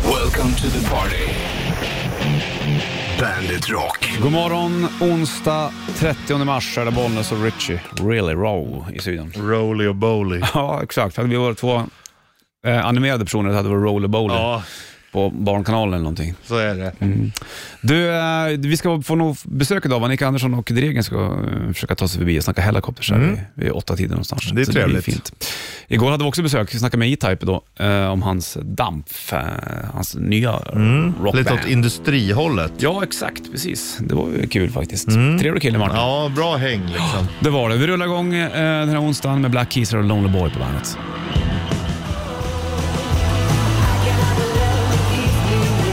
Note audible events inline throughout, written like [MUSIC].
Welcome to the party. Bandit Rock. God morgon, onsdag 30 mars är det Bollnäs och Richie, really row i studion. Roly och Bowly. Ja, exakt. Hade vi varit två eh, animerade personer hade det varit Roly Bowly Ja, på Barnkanalen eller någonting. så är det. Du, eh, vi ska få nog besök idag. Annika Andersson och Dregen ska eh, försöka ta sig förbi och snacka helikopters här vid, vid åtta tiden någonstans. Det är Så trevligt. blir fint. Igår hade vi också besök. Vi snackade med E-Type då, eh, om hans damp, eh, hans nya rockband. Lite åt industrihållet. Ja, exakt. Precis. Det var ju kul faktiskt. Trevlig kille, Martin. Ja, bra häng liksom. Det var det. Vi rullar igång eh, den här onsdagen med Black Keys och Lonely Boy på bandet.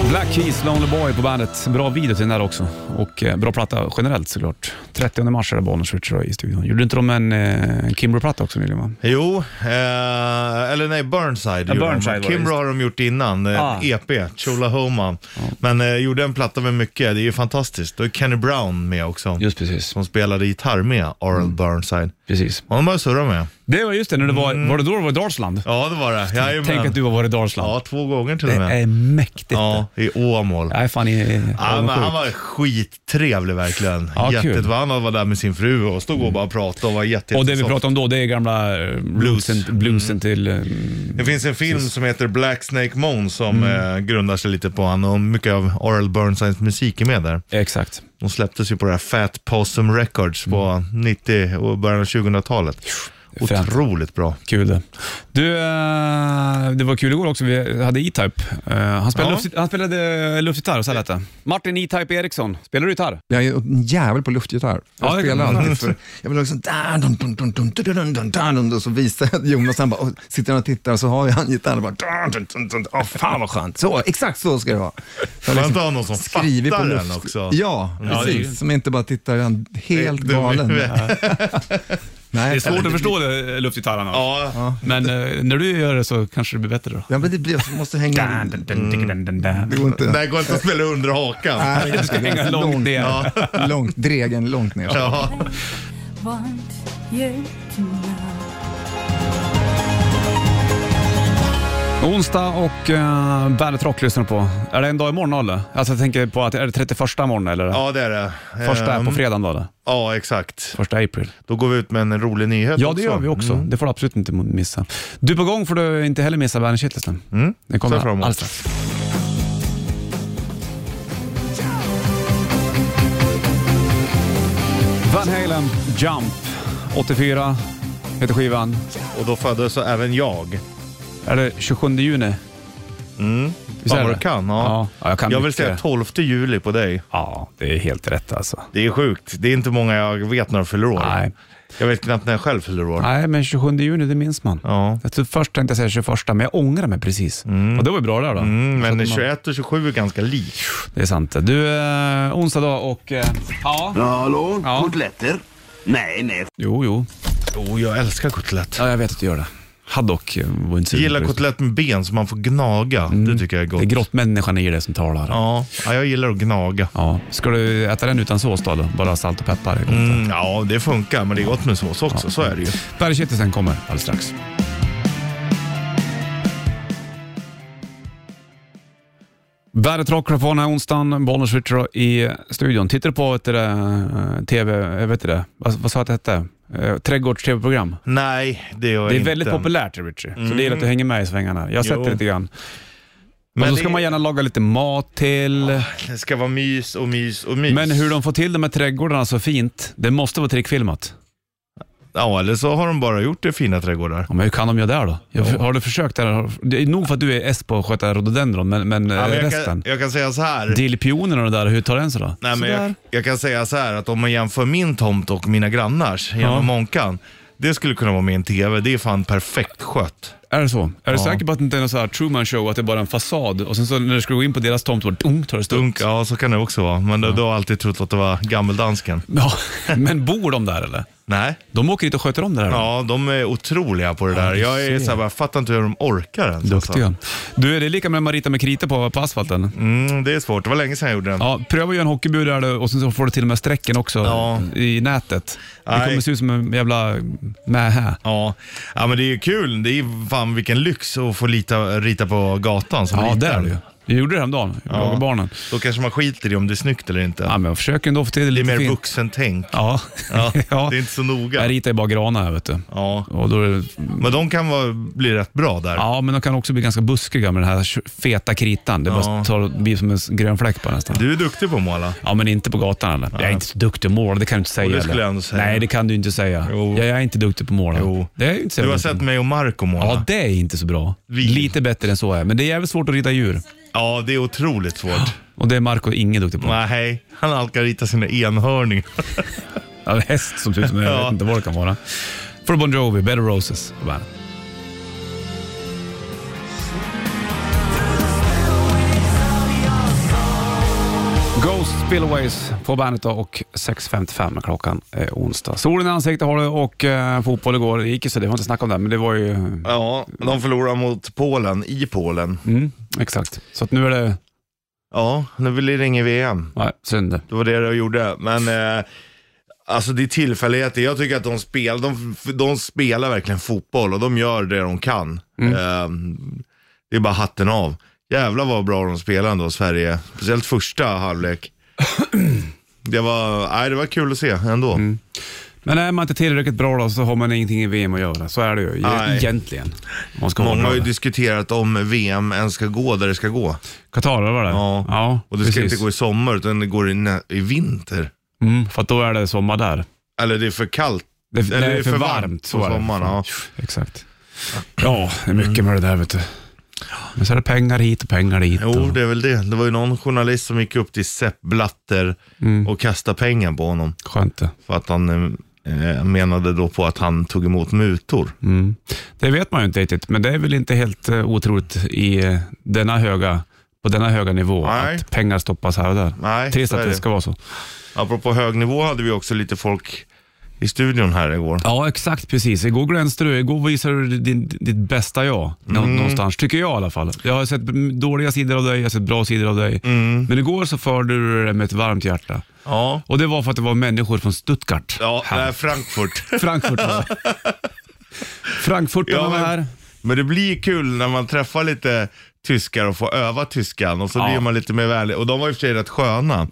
Black Keys, Lonely Boy på bandet. Bra video till den där också och eh, bra platta generellt såklart. 30 mars är det Bonniers Richard i studion. Gjorde inte de en eh, Kimbrough-platta också nyligen? va? Jo, eh, eller nej, Burnside gjorde de. Burnside var det, Kimbrough just. har de gjort innan, eh, Ah. EP, Cholahoma. Men eh, gjorde en platta med mycket, det är ju fantastiskt. Då är Kenny Brown med också, Just precis. som spelade gitarr med Arl Burnside. precis. Honom har jag surrat med. Det var just det, när det var, var det då det var i Dalsland? Ja, det var det. Jajamän. Tänk att du har varit i Dalsland. Ja, två gånger till det och med. är mäktigt. Ja, i Åmål. Jag är fan i... Ja, men han avundsjuk. var skittrevlig verkligen. Ja, kul. Jättet, han var där med sin fru och stod och bara pratade och var jätte, Och det vi jättesoft. pratar om då, det är gamla eh, bluesen, bluesen Mm. till... eh, Det finns en film som heter Black Snake Moan som Mm. eh, grundar sig lite på han och mycket av Oral Burnsides musik är med där. Exakt. De släpptes ju på det här Fat Possum Records på Mm. 90 och början av 2000-talet. Fränt. Otroligt bra. Kul det. Du, eh, det var kul igår också. Vi hade E-Type. Eh, Han spelade, Ja. luftgit- han spelade eh, luftgitarr, så här lät det. Martin E-Type Eriksson, spelar du gitarr? Jag är en jävel på luftgitarr. Jag Ja, det- spelar alltid för... Jag vill ha liksom... dun, dun, dun, dun, dun, dun, dun, dun, dun, Och så visar jag till Jonas, han bara, och sitter han och tittar och så har jag en gitarr och bara... dun, dun, dun, dun. Åh, fan vad skönt. Så, exakt så ska det vara. Så jag liksom liksom Skönt att ha någon som skriver fattar den också. Ja, Ja, det är ju- precis. Som inte bara tittar, han är helt Det- det- galen. Nej, Det är svårt att förstå det, eh, [LAUGHS] luftgitarren. alltså. Ja, Men eh, när du gör det så kanske det blir bättre då. Ja, men det blir, jag måste hänga... Mm. Det går det inte. här går inte att spela under hakan. Nej, det ska hänga långt ner. Ja. Långt, dregen långt ner. Ja. want you to know. Onsdag och uh, Bandet Rock lyssnar du på. Är det en dag imorgon eller? Alltså jag tänker på att, är det 31 imorgon eller? ja, det är det. Första Ehm, på fredagen då eller? Ja, exakt. Första april. Då går vi ut med en rolig nyhet Ja, också. det gör vi också. Mm. Det får du absolut inte missa. Du på gång får du inte heller missa Bandet Shitlisten. Mm. Den kommer Ser fram emot. alldeles strax. Van Halen, Jump, 84 heter skivan. Mm. Och då föddes så även jag. Är det 27 juni? Mm. Visst är Fan vad det? du kan. Ja. Ja. ja, jag kan Jag vill mycket. säga 12 juli på dig. Ja, det är helt rätt alltså. Det är sjukt. Det är inte många jag vet när de fyller år. Nej. Jag vet knappt när jag själv fyller år. Nej, men 27 juni, det minns man. Ja. Jag tror först tänkte jag säga 21, men jag ångrar mig precis. Och det var ju bra där då. Mm, Så att men man- 21 och 27 är ganska likt. Det är sant. Du, eh, onsdag då och... Eh, ja. Hallå? Ja. Kotletter? Nej, nej. Jo, jo. Oh, jag älskar kotlett. Ja, jag vet att du gör det. Haddock eh, var inte Jag sugen gillar på det. kotlett med ben som man får gnaga. Det tycker jag är gott. Mm. Det är grottmänniskan i det som talar. Ja. Ja. ja, jag gillar att gnaga. Ska du äta den utan sås då? eller? Bara salt och peppar? Mm, ja, det funkar, men det är gott med sås också. Så är det ju. Bergkittisen kommer alldeles strax. Bandet Rock på den här onsdagen, Bollnäs Ritcher i studion. Tittar du på ett, eh, TV, jag vet inte det, vad, vad sa jag att det hette? Eh, Trädgårds-TV-program. Nej, det gör jag Det är inte. väldigt populärt Richie, så det gäller att du hänger med i svängarna. Jag har sett Jo. det lite grann. Mm. Men Men och så ska det- man gärna laga lite mat till. Det ska vara mys och mys och mys. Men hur de får till de här trädgårdarna så fint, det måste vara trickfilmat. Ja, eller så har de bara gjort det i fina trädgårdar. Ja, men hur kan de göra det då? Jag, Har du försökt? Det, här? det är nog för att du är S på att sköta rhododendron, men, men, Ja, eh, men jag, resten? kan, jag kan säga så här. Dillpionerna och det där, hur tar den sig då? Nej, men Sådär. jag, jag kan säga så här att om man jämför min tomt och mina grannars genom Ja. Månkan. Det skulle kunna vara med i en TV. Det är fan perfekt skött. Är det så? Är du säker på att det inte är någon sån här Truman show, att det är bara en fasad och sen så när du ska gå in på deras tomt, då dunk, tar det slut? Dunk, ja så kan det också vara. Men då, då har jag alltid trott att det var gammeldansken. Ja, men bor de där eller? Nej. De åker dit och sköter om det där? då? Ja, de är otroliga på det där. du Jag är ser. så här, jag fattar inte hur de orkar ens. Duktiga. Du, är det lika med att man ritar med krita på, på asfalten? Alltså. Mm, det är svårt. Det var länge sedan jag gjorde den. Ja, pröva att göra en hockeybur där du, och sen så får du till och med strecken också Ja. i nätet. Det Nej. kommer se ut som en jävla mähä. Ja. ja, men det är ju kul. Det är ju fan vilken lyx att få lita, rita på gatan som Ja, ritar. det är det ju. Jag gjorde det häromdagen, jag lagade barnen. Då kanske man skiter i om det är snyggt eller inte. Ja, men jag försöker ändå få till det det är lite mer fint. vuxentänk. Ja. Ja, [LAUGHS] Ja. Det är inte så Jag noga. ritar ju bara granar här vet du. Ja. Och då är det, Men de kan vara, bli rätt bra där. ja, men de kan också bli ganska buskiga med den här feta kritan. Det bara Ja. tar, blir som en s- grön fläck på nästan. Du är duktig på att måla. Ja, men inte på gatan eller? Jag är inte så duktig på mål, det kan du inte säga. det skulle eller? jag ändå säga. Nej, det kan du inte säga. Jo. Jag är inte duktig på mål. Jo. Det är ju inte så Du har jävla- sett mig och Marco måla. Ja, det är inte så bra. Lite bättre än så är Men det är jävligt svårt att rita djur. Ja, det är otroligt svårt. Och det är Marco ingen duktig på. Nej, han halkar rita sina enhörningar. Ja, en häst som ser [LAUGHS] ut som en- jag Ja. vet inte vad det kan vara. För Bon Jovi, Better Roses på bandet. Ghost Spillaways på bandet då och 6.55 är klockan är onsdag. Solen i ansiktet har du och eh, fotboll igår. Det gick ju så det har inte snackat om det, men det var ju... Ja, de förlorar mot Polen, i Polen. Mm, exakt. Så att nu är det... Ja, nu vill det ringa VM. Nej, synd. Det var det de gjorde. Men eh, alltså det är tillfälligheter. Jag tycker att de, spel, de, de spelar verkligen fotboll och de gör det de kan. Mm. Eh, det är bara hatten av. Jävlar vad bra de spelar ändå, Sverige. Speciellt första halvlek. [CLEARS THROAT] Det var, nej, det var kul att se ändå. Mm. Men är man inte tillräckligt bra då så har man ingenting i VM att göra. Så är det ju e- Nej. egentligen. Om Man ska Många vara har ju bra där. diskuterat om VM ens ska gå där det ska gå. Qatar eller vad det är? Ja. och det ska precis. inte gå i sommar utan det går i, nä- i vinter. Mm, för att då är det sommar där. Eller det är för kallt. Det, Eller det är för varmt. så på är det. sommaren. Ja. Exakt. Ja, det är mycket med det där vet du. Men så är det pengar hit och pengar dit. Jo, och- det är väl det. Det var ju någon journalist som gick upp till Sepp Blatter och kastade pengar på honom. Mm, Skönt det. För att han eh, menade då på att han tog emot mutor. Mm. Det vet man ju inte riktigt, men det är väl inte helt eh, otroligt i eh, denna höga, på denna höga nivå Nej. att pengar stoppas här och där. Nej, Trist så att är det det. ska vara så. Apropå hög nivå hade vi också lite folk i studion här igår. Ja, exakt precis. Igår glänste du. Igår visade du din, ditt bästa jag. Nå- Mm. Någonstans, tycker jag i alla fall. Jag har sett dåliga sidor av dig, jag har sett bra sidor av dig. Mm. Men igår så förde du det med ett varmt hjärta. Ja, Och det var för att det var människor från Stuttgart. ja här. nej, [LAUGHS] Frankfurt. Frankfurt var [LAUGHS] det. Frankfurt Ja, var men- här. Men det blir kul när man träffar lite tyskar och får öva tyskan och så Ja. Mm. blir man lite mer vänlig. Och de var i och för sig rätt sköna.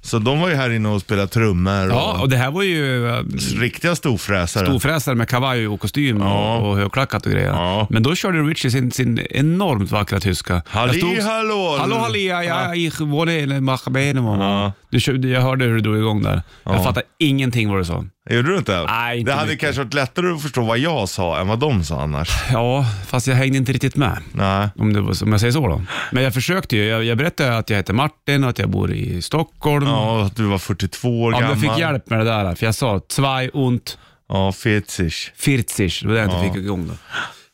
Så de var ju här inne och spelade trummor och, Ja, och det här var ju eh, riktiga storfräsare. storfräsare med kavaj och kostym Ja. och, och högklackat och grejer. Ja. Men då körde Richie sin, sin enormt vackra tyska. Jag Halli, stod- hallå! Hallå halli, ja, ja, ich wohne in Machbenen. Du körde- Jag hörde hur du drog igång där. Jag fattade ingenting vad du sa. Gjorde du inte? Nej, inte det hade mycket. kanske varit lättare att förstå vad jag sa än vad de sa annars. Ja, fast jag hängde inte riktigt med. Nej. Om, det var, om jag säger så då. Men jag försökte ju. Jag, jag berättade att jag heter Martin och att jag bor i Stockholm. Ja, Ja, att du var 42 år men gammal. jag fick hjälp med det där. För jag sa zwei und Ja, fetisch. 40. Det var det jag inte fick igång då.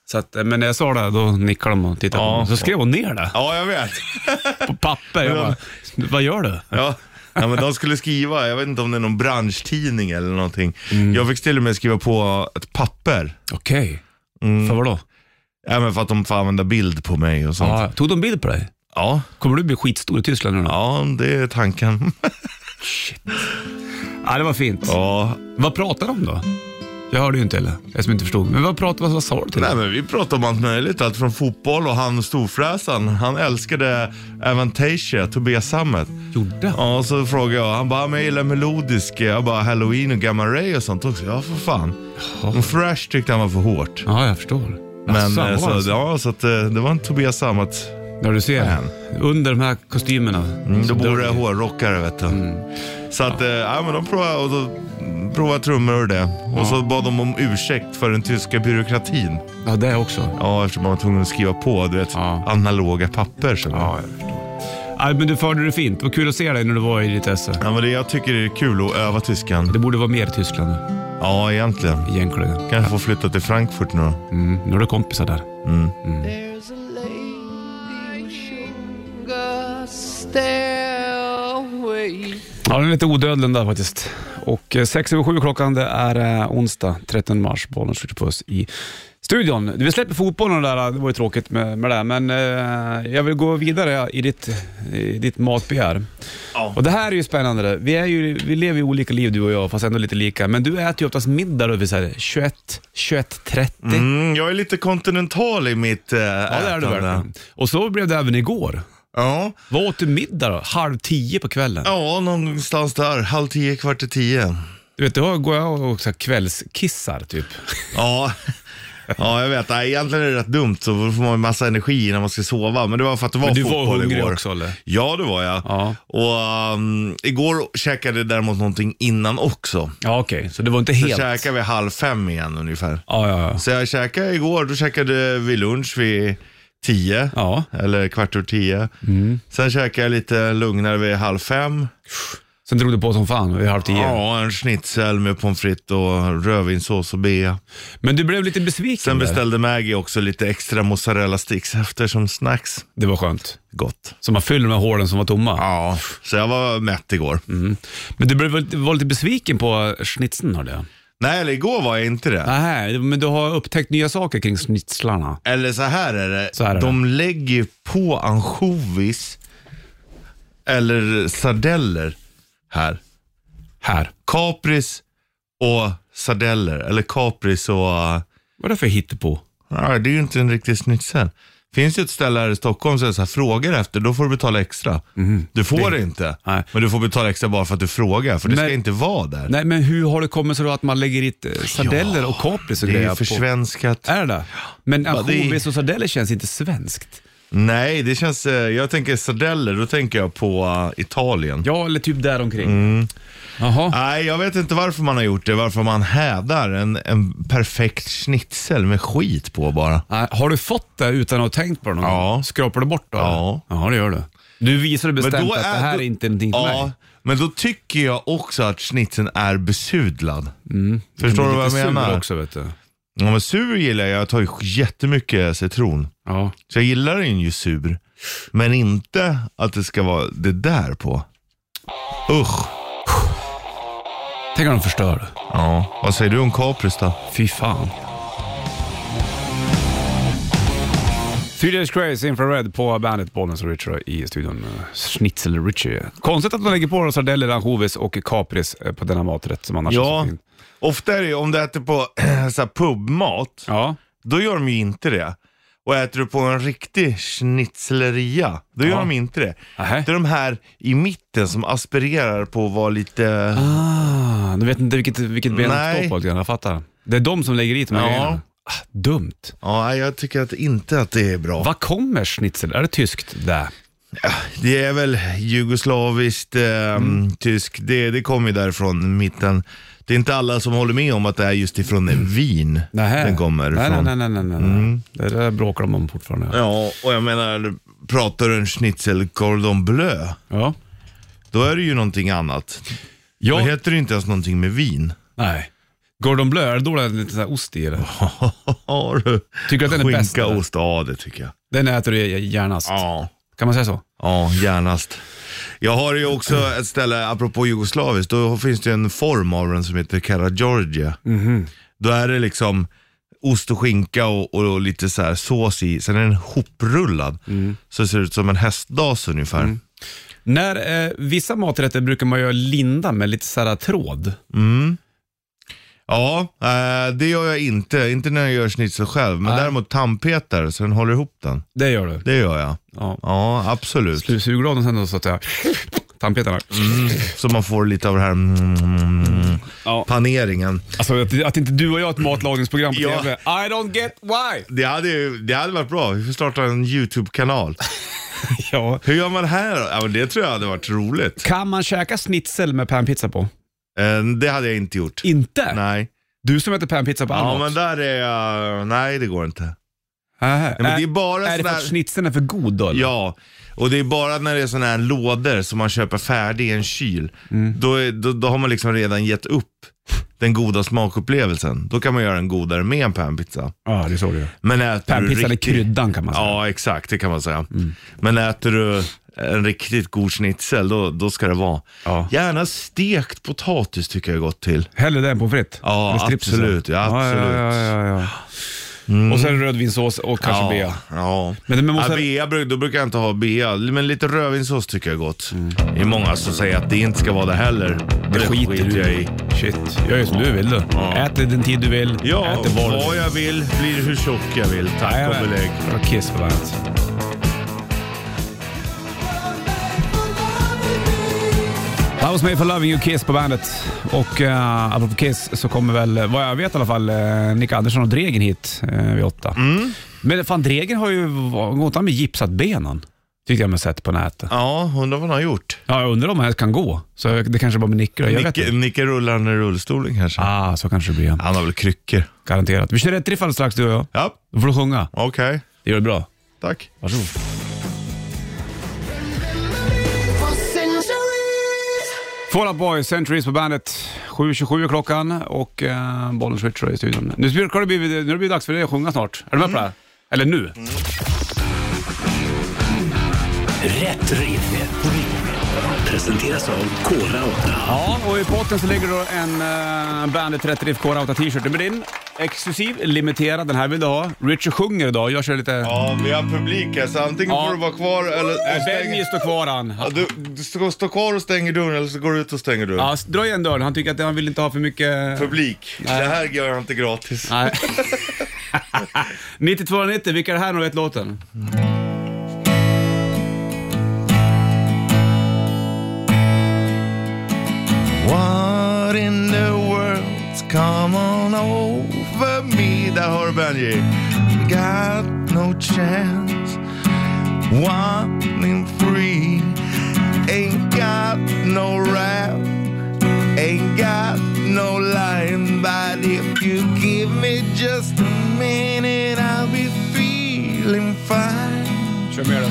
Så att, eh, men när jag sa det, då nickade de och tittade Ja. på mig. Så skrev hon ner det Ja, jag vet. på papper. Jag bara, vad gör du? Ja. Ja, men de skulle skriva, jag vet inte om det är någon branschtidning eller någonting. Mm. Jag fick till och med skriva på ett papper. Okej. För vadå? Även för att de får använda bild på mig och sånt. Ja, tog de bild på dig? Ja, Kommer du bli skitstor i Tyskland nu då? ja det är tanken. [LAUGHS] Ja, det var fint. Ja. Vad pratade de då? Jag hörde ju inte heller, eftersom jag inte förstod. Men vad, pratade, vad, vad sa du till Nej dem? men vi pratade om allt möjligt, allt från fotboll och han storfräsaren. Han älskade Avantasia, Tobias-sammet. Gjorde han? Ja, och så frågade jag. Han bara, men jag gillar melodisk. eh, Jag bara, halloween och gamma ray och sånt också. Ja, för fan. Men thrash tyckte han var för hårt. Ja, jag förstår. Men Jaså, eh, vad var det så, så? ja, så att, eh, det var en Tobias Sammet. När du ser, Fan. under de här kostymerna. Mm, då så bor det dör hårrockare vet du. Så att, eh, ja men de provade, och då, provade trummor och det. Och så bad de om ursäkt för den tyska byråkratin. Ja, det också. Ja, eftersom man var tvungen att skriva på, du vet, Ja. analoga papper. Så. Ja. Ja, jag förstår. Nej, men du förde det fint. Vad kul att se dig när du var i ditt esse. men det jag tycker är kul att öva tyskan. Det borde vara mer Tyskland nu, Ja, egentligen. egentligen. Kanske få flytta till Frankfurt nu då. Mm, nu har du kompisar där. There's a lady with sugar stairway. Ja, den är lite odödlig den där faktiskt. Och eh, sex över sju klockan, det är eh, onsdag 13 mars. Bollen skjuter på oss i studion. Vi släpper fotbollen och det där, eh, det var ju tråkigt med, med det, men eh, jag vill gå vidare i ditt, i ditt matbegär. Ja. Och det här är ju spännande. det. Vi, är ju, vi lever ju olika liv du och jag, fast ändå lite lika. Men du äter ju oftast middag då vid så här 21, 21.30. Mm, jag är lite kontinental i mitt eh, Ja, det är du ätande. verkligen. Och så blev det även igår. Ja, Vad åt du middag då? Halv tio på kvällen? ja någonstans där. Halv tio, kvart i tio. Du vet, då går jag och så här kvällskissar typ. Ja. [LAUGHS] Ja, jag vet. Nej, Egentligen är det rätt dumt, så då får man ju massa energi när man ska sova. Men det var för att det var Men du var fotboll hungrig igår. också, eller? Ja, det var jag. Ja. Och um, igår käkade jag däremot någonting innan också. Ja, okej. Så det var inte Så helt... käkade vi halv fem igen ungefär. Ja, ja, ja. Så jag käkade igår, då käkade vi lunch vid tio. Ja. Mm. Eller kvart över tio. Sen käkade jag lite lugnare vid halv fem. Sen drog du på som fan vid halv tio. Ja, en schnitzel med pommes frites och rödvinssås och bea. Men du blev lite besviken Sen där. beställde Maggie också lite extra mozzarella sticks efter som snacks. Det var skönt. Gott. Så man fyller de här hålen som var tomma. Ja, så jag var mätt igår. Mm. Men du blev, väl- var lite besviken på schnitzeln hörde jag. Nej, eller igår var jag inte det. Nej, men du har upptäckt nya saker kring schnitzlarna. Eller så här är det. Så här är De lägger på ansjovis eller sardeller här. Här. Kapris och sardeller. Eller kapris och... äh, Vad är det för hittepå? Ja, det är ju inte en riktig schnitzel. Finns ju ett ställe här i Stockholm som jag så här, frågar efter, då får du betala extra. Du får det, inte, Mhm. Nej. men du får betala extra bara för att du frågar, för det Men- ska inte vara där. Nej, men hur har det kommit sig då att man lägger i eh, sardeller och kapris och det är grejer ju försvenskat. Är det det? Men det- ansjovis och sardeller känns inte svenskt. Nej, det känns... eh, Jag tänker sardeller, då tänker jag på äh, Italien. Ja, eller typ däromkring. Jaha. Nej, jag vet inte varför man har gjort det, varför man hädar en, en perfekt schnitzel med skit på bara. Nej, Har du fått det utan att ha tänkt på det någon Ja. gång? Skrapar du bort då? Ja. eller? Ja, det gör du. Du visade bestämt att det här då- är inte någonting för ja, mig. men då tycker jag också att schnitzeln är besudlad. Förstår du Mm. Lite vad jag sur menar? också vet du. Ja, men sur gillar jag. Jag tar ju jättemycket citron. Ja. Så jag gillar den ju sur. Men inte att det ska vara det där på. Usch. Tänk om de förstör. Ja, vad säger du om kapris då? Fy fan. Three Days Grace, Infrared på bandet Bollnäs och Richard i studion. eh, Schnitzel Richie. Konstigt att man lägger på sardeller, ansjovis och kapris eh, på denna maträtt som annars är Ja, så fin. ofta är det ju om du äter på [CLEARS THROAT] så här pubmat, Ja. då gör de ju inte det. Och äter du på en riktig schnitzleria, då gör Ja. de inte det. Nähä. Det är de här i mitten som aspirerar på att vara lite... Ah, du vet inte vilket, vilket ben de Nej. står på lite grann. Jag fattar. Det är de som lägger i de här Ja. grejerna. Ah, dumt. Ja, nej, jag tycker att inte att det är bra. Vad kommer schnitzel? Är det tyskt? Där. Det är väl jugoslaviskt, eh, Mm. tysk. Det, det kommer ju därifrån mitten. Det är inte alla som håller med om att det är just ifrån Wien Mm. Nähä. den kommer nej, ifrån. nej, nej, nej, nej. Det där bråkar de om fortfarande. Ja, och jag menar, pratar du en schnitzel cordon bleu, Ja. då är det ju någonting annat. Då ja. heter det inte ens någonting med [LAUGHS] vin. Nej. Gordon Bleu, är det då det är lite sån här ost i eller? Har du? Tycker du att den är Skinka, bäst? eller? ost, ja det tycker jag. Den äter du gärnast. Ja. Kan man säga så? Ja, gärnast. Jag har ju också ett ställe, apropå jugoslaviskt, då finns det en form av den som heter Kara Georgia. Mhm. Då är det liksom ost och skinka och, och, lite så här sås i, sen är den hoprullad. Mm. Så det ser ut som en hästdas ungefär. När eh, vissa maträtter brukar man ju linda med lite så här tråd. Ja, eh, det gör jag inte. Inte när jag gör schnitzel själv, men Nej. däremot tandpetar så den håller ihop den. Det gör du. Det gör jag. Ja. Ja, absolut. Mm. Du är suglad sen då så att jag... Tandpetarna. Så man får lite av det här mm, Ja. paneringen. Alltså att, att inte du och jag har ett matlagningsprogram på Ja. TV. I don't get why. Det hade, ju- det hade varit bra. Vi får starta en YouTube-kanal. Ja. Hur gör man det här då? Ja, men det tror jag hade varit roligt. Kan man käka schnitzel med panpizza på? Eh, Det hade jag inte gjort. Inte? Nej. Du som äter panpizza på Ja, annat. men där är jag... Nej, det går inte. Nej, men det är bara Äh, Är det sån för här- att schnitzeln är för god då? eller? Ja, och det är bara när det är sådana här lådor som man köper färdig i en kyl. Mm. Då, är, då, då har man liksom redan gett upp den goda smakupplevelsen. Då kan man göra en godare med en panpizza. Ja, det är så det är. Men äter du Panpizzan är riktig- kryddan kan man säga. Ja, exakt. Det kan man säga. Men äter du en riktigt god schnitzel, då, då ska det vara. Ja. Gärna stekt potatis tycker jag är gott till. Hellre det än pommes frites? Ja, Eller stripsen. absolut, ja, absolut. Mm. liksom. Ja, ja, ja, ja, ja. Och sen rödvinssås och kanske bea. Ja. Men det- men måste- ja, bea bruk- då brukar jag inte ha bea, men lite rödvinssås tycker jag är gott. Det är många som säger att det inte ska vara det heller. men Det skiter du jag i. Shit, gör ju som du vill du. Ja. Ät det den tid du vill. Ja, Ät det var du vad jag vill, blir hur tjock jag vill. Tack och belägg. Bra kiss på bandet. That was made for loving you, Kiss på bandet. Och uh, apropå Kiss så kommer väl, vad jag vet i alla fall, eh, Nick Andersson och Dregen hit uh, vid åtta. Men fan Dregen har ju va- gått han med gipsat benen. Tyckte jag mig sett på nätet. Ja, undrar vad han har gjort. Ja, jag undrar om han ens kan gå. Så jag- det kanske bara med Nick då, jag vet Nicke, inte. Nicke rullar ner i rullstolen kanske. Ah, så kanske det blir. Han har väl kryckor. Garanterat. Vi kör ett riff alldeles strax du och jag. Ja, Då får du sjunga. okej. Det gör du bra. Tack. Varsågod. Fall Out Boys, Centuries på bandet. 7.27 är klockan och eh, bollen switchar i studion. Nu ska det bli, nu har det blivit dags för dig att sjunga snart. Är du med på det här? Eller nu? Rätt riff. Presenteras av Kora 8. Ja, och i potten så ligger då en eh, Bandet 30 Riff Core Outa t-shirt. Den blir din. Exklusiv, limiterad. Den här vill du ha. Richard sjunger idag. Jag kör lite... Ja, vi har publik här så antingen Ja. får du vara kvar eller... och Benji stäng- står kvar han. Ja, Du, du ska stå kvar och stänger dörren eller så går du ut och stänger dörren. Ja, dra igen dörren. Han tycker att han vill inte ha för mycket... Publik. Det här gör jag inte gratis. Nej. 9290, vilka är det här nu vet låten? What in the world's come on over me? Där har du Benji. Got no chance. One in free. Ain't got no rap. Ain't got no line. But if you give me just a minute I'll be feeling fine. Kör med den.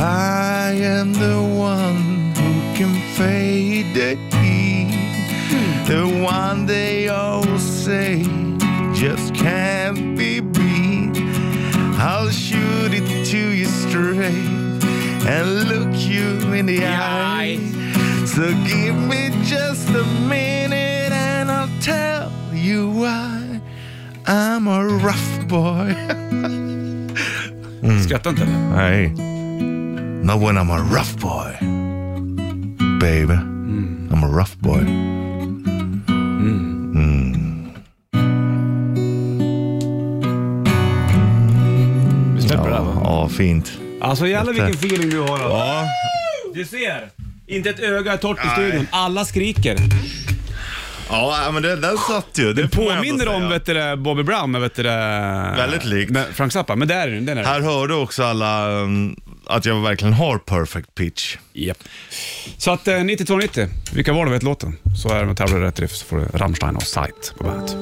I am the one who can fade the heat. The one they all say just can't be beat. I'll shoot it to you straight and look you in the eye. Mm. So give me just a minute and I'll tell you why I'm a rough boy. Skratta inte eller? Hey, not when I'm a rough boy, baby. I'm a rough boy. Mm. Vi släpper det här va? Ja, fint. Alltså jävlar vilken feeling du har. alltså. då. Ja, Du ser! Inte ett öga är torrt i studion. Alla skriker. ja men den, den satt ju. Det, Det får man ändå påminner om säga. vet du, det, Bobby Brown med vet du, det- Väldigt likt. med Frank Zappa, men det är den. den är det. Här hörde också alla um, att jag verkligen har perfect pitch. Japp. Så att eh, 9290, vilka var det vet låten? Så är det med tävlar i rätt riff så får du Rammstein och Sight på bandet.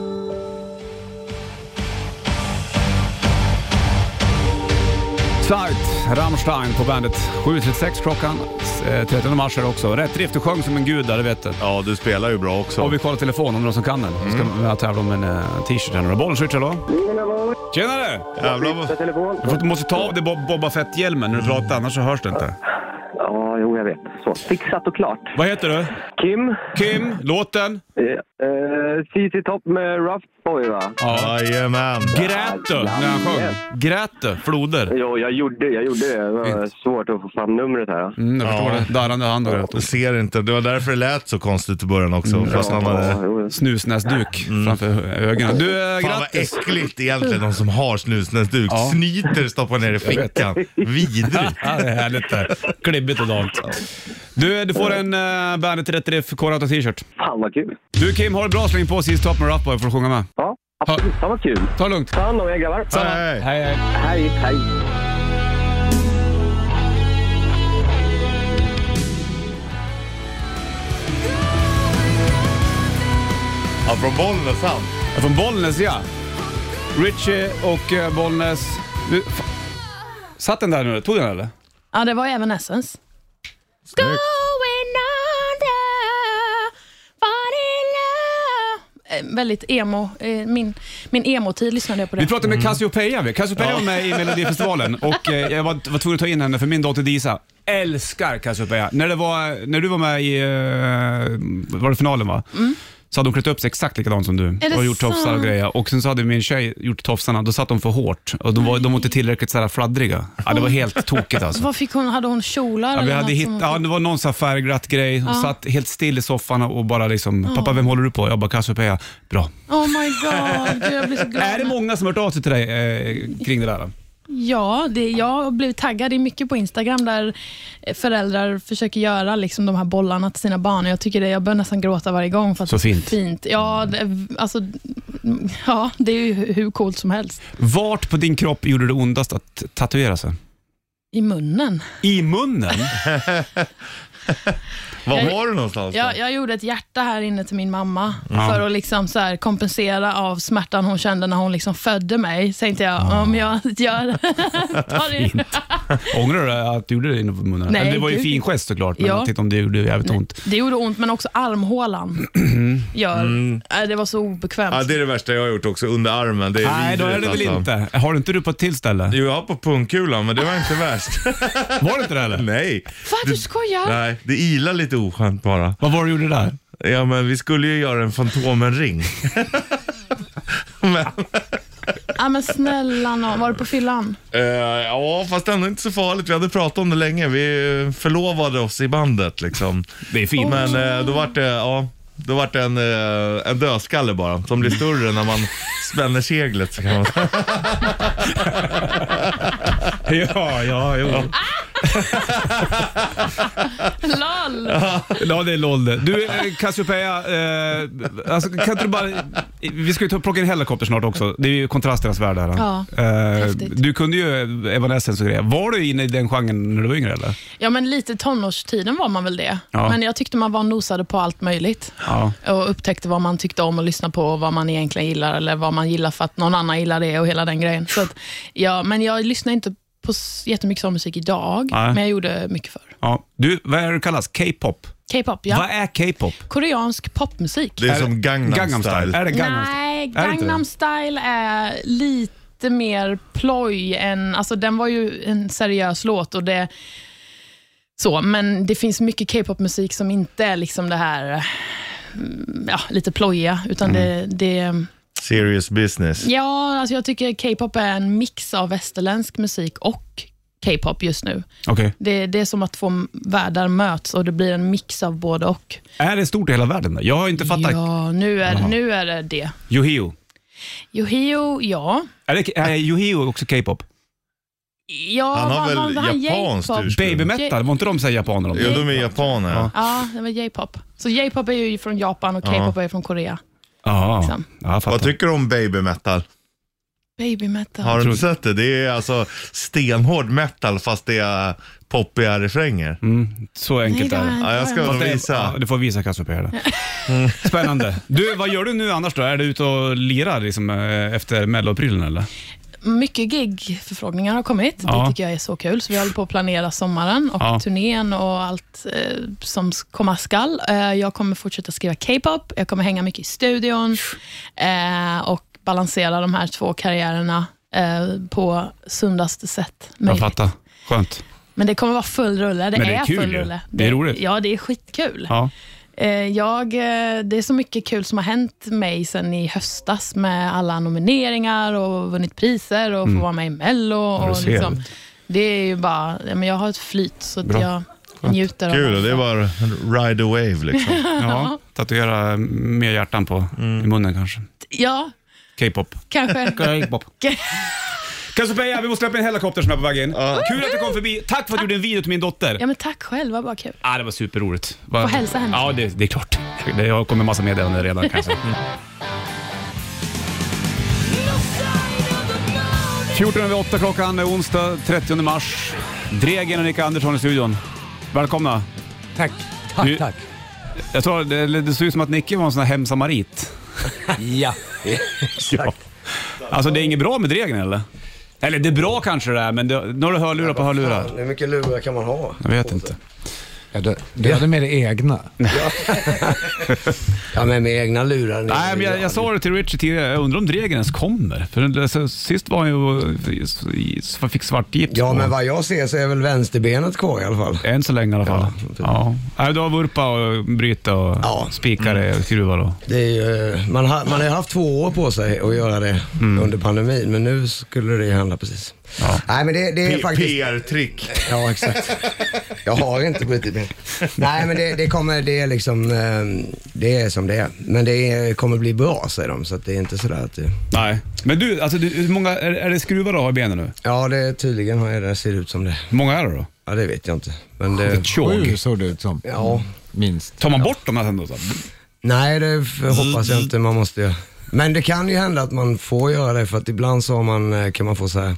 Sight, Rammstein på bandet. 7.36 klockan, eh, 13 mars är det också. Rätt riff, du sjöng som en gud där, det vet du. Ja, du spelar ju bra också. Och vi kollar telefonen om någon som kan den. Så ska vi tävla om en eh, t-shirt här nu då. Bollen switch, hallå? Tjenare! Jävlar vad... telefon. Du får- du måste ta av dig Bob- Boba Fett-hjälmen när du pratar, annars så hörs det inte. Ja, jo, jag vet. Så. Fixat och klart. Vad heter du? Kim, Kim, låten? eh, eh, CC Top med Rough Boy, va? Jajamän. Grät du när han sjöng? Grät du? Floder? Jo, jag gjorde, jag gjorde det. Det var Fint. svårt att få fram numret här. Mm, jag förstår Ja. det. Darrande hand och Du ser inte. Det var därför det lät så konstigt i början också. Mm. Fast han hade... jo. snusnäsduk framför ögonen. Du, eh, Fan vad grattis! äckligt egentligen de som har snusnäsduk. Ja. Snyter stoppar ner i fickan. Vidrigt. Ja, det är härligt det. Klibbigt och dant. Du, du får en uh, Bandet 33 Korata t-shirt. Fan vad kul. Du Kim, ha det bra. Släng på sist Top med Rough Boy för att sjunga med. Ja, absolut. Fan vad kul. Ta det lugnt. Ta hand om er grabbar. Hej. Hej, hej. Hej, hej. Ja, från Bollnäs han. Från Bollnäs ja. Richie och eh, Bollnäs. Du, fa- Satt den där nu? Tog den eller? Ja, det var ju Evanescence. Going under, fall in love. Eh, väldigt emo. Eh, min min emo-tid lyssnade jag på Vi det. pratade med Cassiopeia. vi. Cassiopeia var med i [LAUGHS] Melodifestivalen och eh, jag var, var tvungen att ta in henne för min dotter Disa älskar Cassiopeia. När, det var, när du var med i eh, var det finalen va? Så hade hon klätt upp sig exakt likadant som du Mm. det och gjort tofsar och sant? grejer. Och sen så hade min tjej gjort tofsarna, då satt de för hårt och de var, de var inte tillräckligt så här fladdriga. Ja, det var helt tokigt alltså. Vad fick hon? Hade hon kjolar? Ja, vi eller hade något hitt, som- ja, det var någon så här färgglatt grej. Hon satt helt still i soffan och bara liksom, pappa vem håller du på? Jag bara Cassiopeia, bra. Oh my god, Gud, jag blir så [LAUGHS] glad. Är det många som har hört av sig till dig eh, kring det där? då? Ja, det, jag har blivit taggad i mycket på Instagram där eh, föräldrar försöker göra liksom de här bollarna till sina barn. Jag tycker det, jag börjar nästan gråta varje gång. För att Så fint. Det är fint. Ja, det, alltså, mm, ja, det är ju hu- hur coolt som helst. Vart på din kropp gjorde det ondast att tatuera sig? I munnen. I munnen? Var Jag- var du någonstans? då? Jag, jag gjorde ett hjärta här inne till min mamma för att liksom så här kompensera av smärtan hon kände när hon liksom födde mig. Så tänkte jag, Ah. om jag [LAUGHS] gör tar det. [LAUGHS] Ångrar du dig att du gjorde det inne på munnen? Nej, Eller det var ju en gud. fin gest såklart, men Ja. jag tänkte om det gjorde jävligt ont. det gjorde ont, men också [CLEARS THROAT] armhålan gör. Nej, Det var så obekvämt. Mm. Ja, det är det värsta jag har gjort också, under armen. Det är Nej, då är det vidrigt, väl alltså. inte. Har du inte du på ett till ställe? Jo, jag har på pungkulan, men det var inte värst. [LAUGHS] Var det inte det eller? Nej. Fan, du skojar? Nej, det ilar lite oskönt bara. Vad var det du gjorde där? Ja, men vi skulle ju göra en [LAUGHS] Fantomen-ring. men, Ja, men snälla nån. Var du [LAUGHS] på fyllan? eh, ja, fast ändå inte så farligt. Vi hade pratat om det länge. Vi eh, förlovade oss i bandet liksom. Det är fint. Men eh, då vart det, ja. Då vart det en, eh, en dödskalle bara, som blir större när man spänner seglet. Så kan man säga. Ja, ja, jo. LOL! Ja, det är LOL det. Du, eh, Cassiopeia, eh, alltså, kan inte du bara... Vi ska ju ta, plocka in helikopter snart också. Det är ju kontrasternas värld här. Ja, Eh, häftigt. du kunde ju Evanescence och grejer. Var du inne i den genren när du var yngre eller? Ja, men lite tonårstiden var man väl det. Ja. Men jag tyckte man var och nosade på allt möjligt Ja. och upptäckte vad man tyckte om att lyssna på och vad man egentligen gillar eller vad man gillar för att någon annan gillar det och hela den grejen. Så att, ja, men jag lyssnar inte på s- jättemycket sån musik idag, Nej. men jag gjorde mycket förr. ja. Du, vad är det kallas? K-pop? K-pop, ja. Vad är K-pop? Koreansk popmusik. Det är som Gangnam, style. Är det Gangnam style? Nej, det inte Gangnam det? style är lite mer ploj än... Alltså den var ju en seriös låt och det... Så, men det finns mycket K-pop-musik som inte är liksom det här mm, ja, lite plojiga, utan Mm. det, det... Serious business. Ja, alltså jag tycker K-pop är en mix av västerländsk musik och K-pop just nu. Okej. Det, det är som att två världar möts och det blir en mix av både och. Är det stort i hela världen? då? Jag har inte fattat. Ja, nu är, Jaha. nu är det det. Yohio. Yohio, ja. Är, det, är Yohio också K-pop? Ja, Han har vad- väl vad- vad han japanskt J-pop? ursprung? Baby metal, var inte de så här japaner? De? Ja, de är japaner. Ja. Ja, det var J-pop. Så J-pop är ju från Japan och K-pop är från Korea. Ja, Liksom. ja jag Vad fattar. tycker du om baby metal? Baby metal. Har du inte sett det? Det är alltså stenhård metal fast det är poppiga refränger. Så enkelt Nej, är det det. har Ja, jag inte. ska Fast det- visa. Ja, du får visa Cassiopeia det. Spännande. Du, vad gör du nu annars då? Är du ute och lirar liksom, eh, efter melloprylen eller? Mycket gigförfrågningar har kommit. Ja. Det tycker jag är så kul. Så vi håller på att planera sommaren och Ja. turnén och allt eh, som s- komma skall. Eh, jag kommer fortsätta skriva K-pop. Jag kommer hänga mycket i studion eh, och balansera de här två karriärerna eh, på sundaste sätt Jag möjligt. fattar. Skönt. Men det kommer vara full rulle. Det, Men det är kul full ju. rulle. Det är roligt. Ja, det är skitkul. Ja. Eh, Jag, eh, det är så mycket kul som har hänt mig sen i höstas med alla nomineringar och vunnit priser och få vara med i Mello. Mm. du Och ser. liksom, det är ju bara, ja, men jag har ett flyt så att Bra. jag njuter Kul, och av det är bara ride a wave liksom. ja. Tatuera mer hjärtan på, i munnen kanske. Ja, K-pop. [LAUGHS] kanske. K-pop. Cassiopeia, vi måste släppa en helikopter som är på väg in. Kul att du kom förbi. Tack för att du gjorde en video till min dotter. Ja, men tack själv, vad bara kul. Ah, det var superroligt. Var... Får hälsa henne. Ja, det, det är klart. Det har kommit massa meddelanden redan kanske. [LAUGHS] 14 över 8 klockan, det är onsdag 30 mars. Dregen och Nicke Andersson i studion. Välkomna. Tack. Tack, Du- tack. Jag tror det, det ser ut som att Nicke var en sån här [LAUGHS] hemsamarit. [LAUGHS] Ja, exakt. Alltså det är inget bra med Dregen eller? Eller det är bra kanske det är, men det, nu har du hörlurar på hörlurar. Hur mycket lurar kan man ha? Jag vet inte. Ja, du, du hade med dig egna. Ja, men med egna lurar. Nej, men jag, jag sa det till Richie tidigare, jag undrar om Dregen ens kommer. För den- alltså, sist var han ju och- i- i- fick svart gips Ja, på. men vad jag ser så är väl vänsterbenet kvar i alla fall. Än så länge i alla fall. Ja, Nej, du har vurpa och bryta och Ja. spikare och skruvar och... Det är ju, eh, man, har, man har ju haft två år på sig att göra det under pandemin, men nu skulle det hända precis. Nej, men det, det är P- faktiskt... PR-trick. Ja, exakt. Jag har inte brutit ben. Nej, men det, det kommer, det är liksom, eh, det är som det är. Men det är, kommer bli bra, säger de, så att det är inte sådär att det... Nej. Men du, alltså, du hur många, är, är det skruvar du har i benen nu? Ja, det, tydligen har jag det, ser ut som det. Hur många är det då? Ja, det vet jag inte. Men det... Ett tjog. såg det ut som. Ja. Minst. Tar man bort dem här sen då? så? Nej, det f- hoppas jag inte man måste göra. Men det kan ju hända att man får göra det, för att ibland så har man, eh, kan man få så här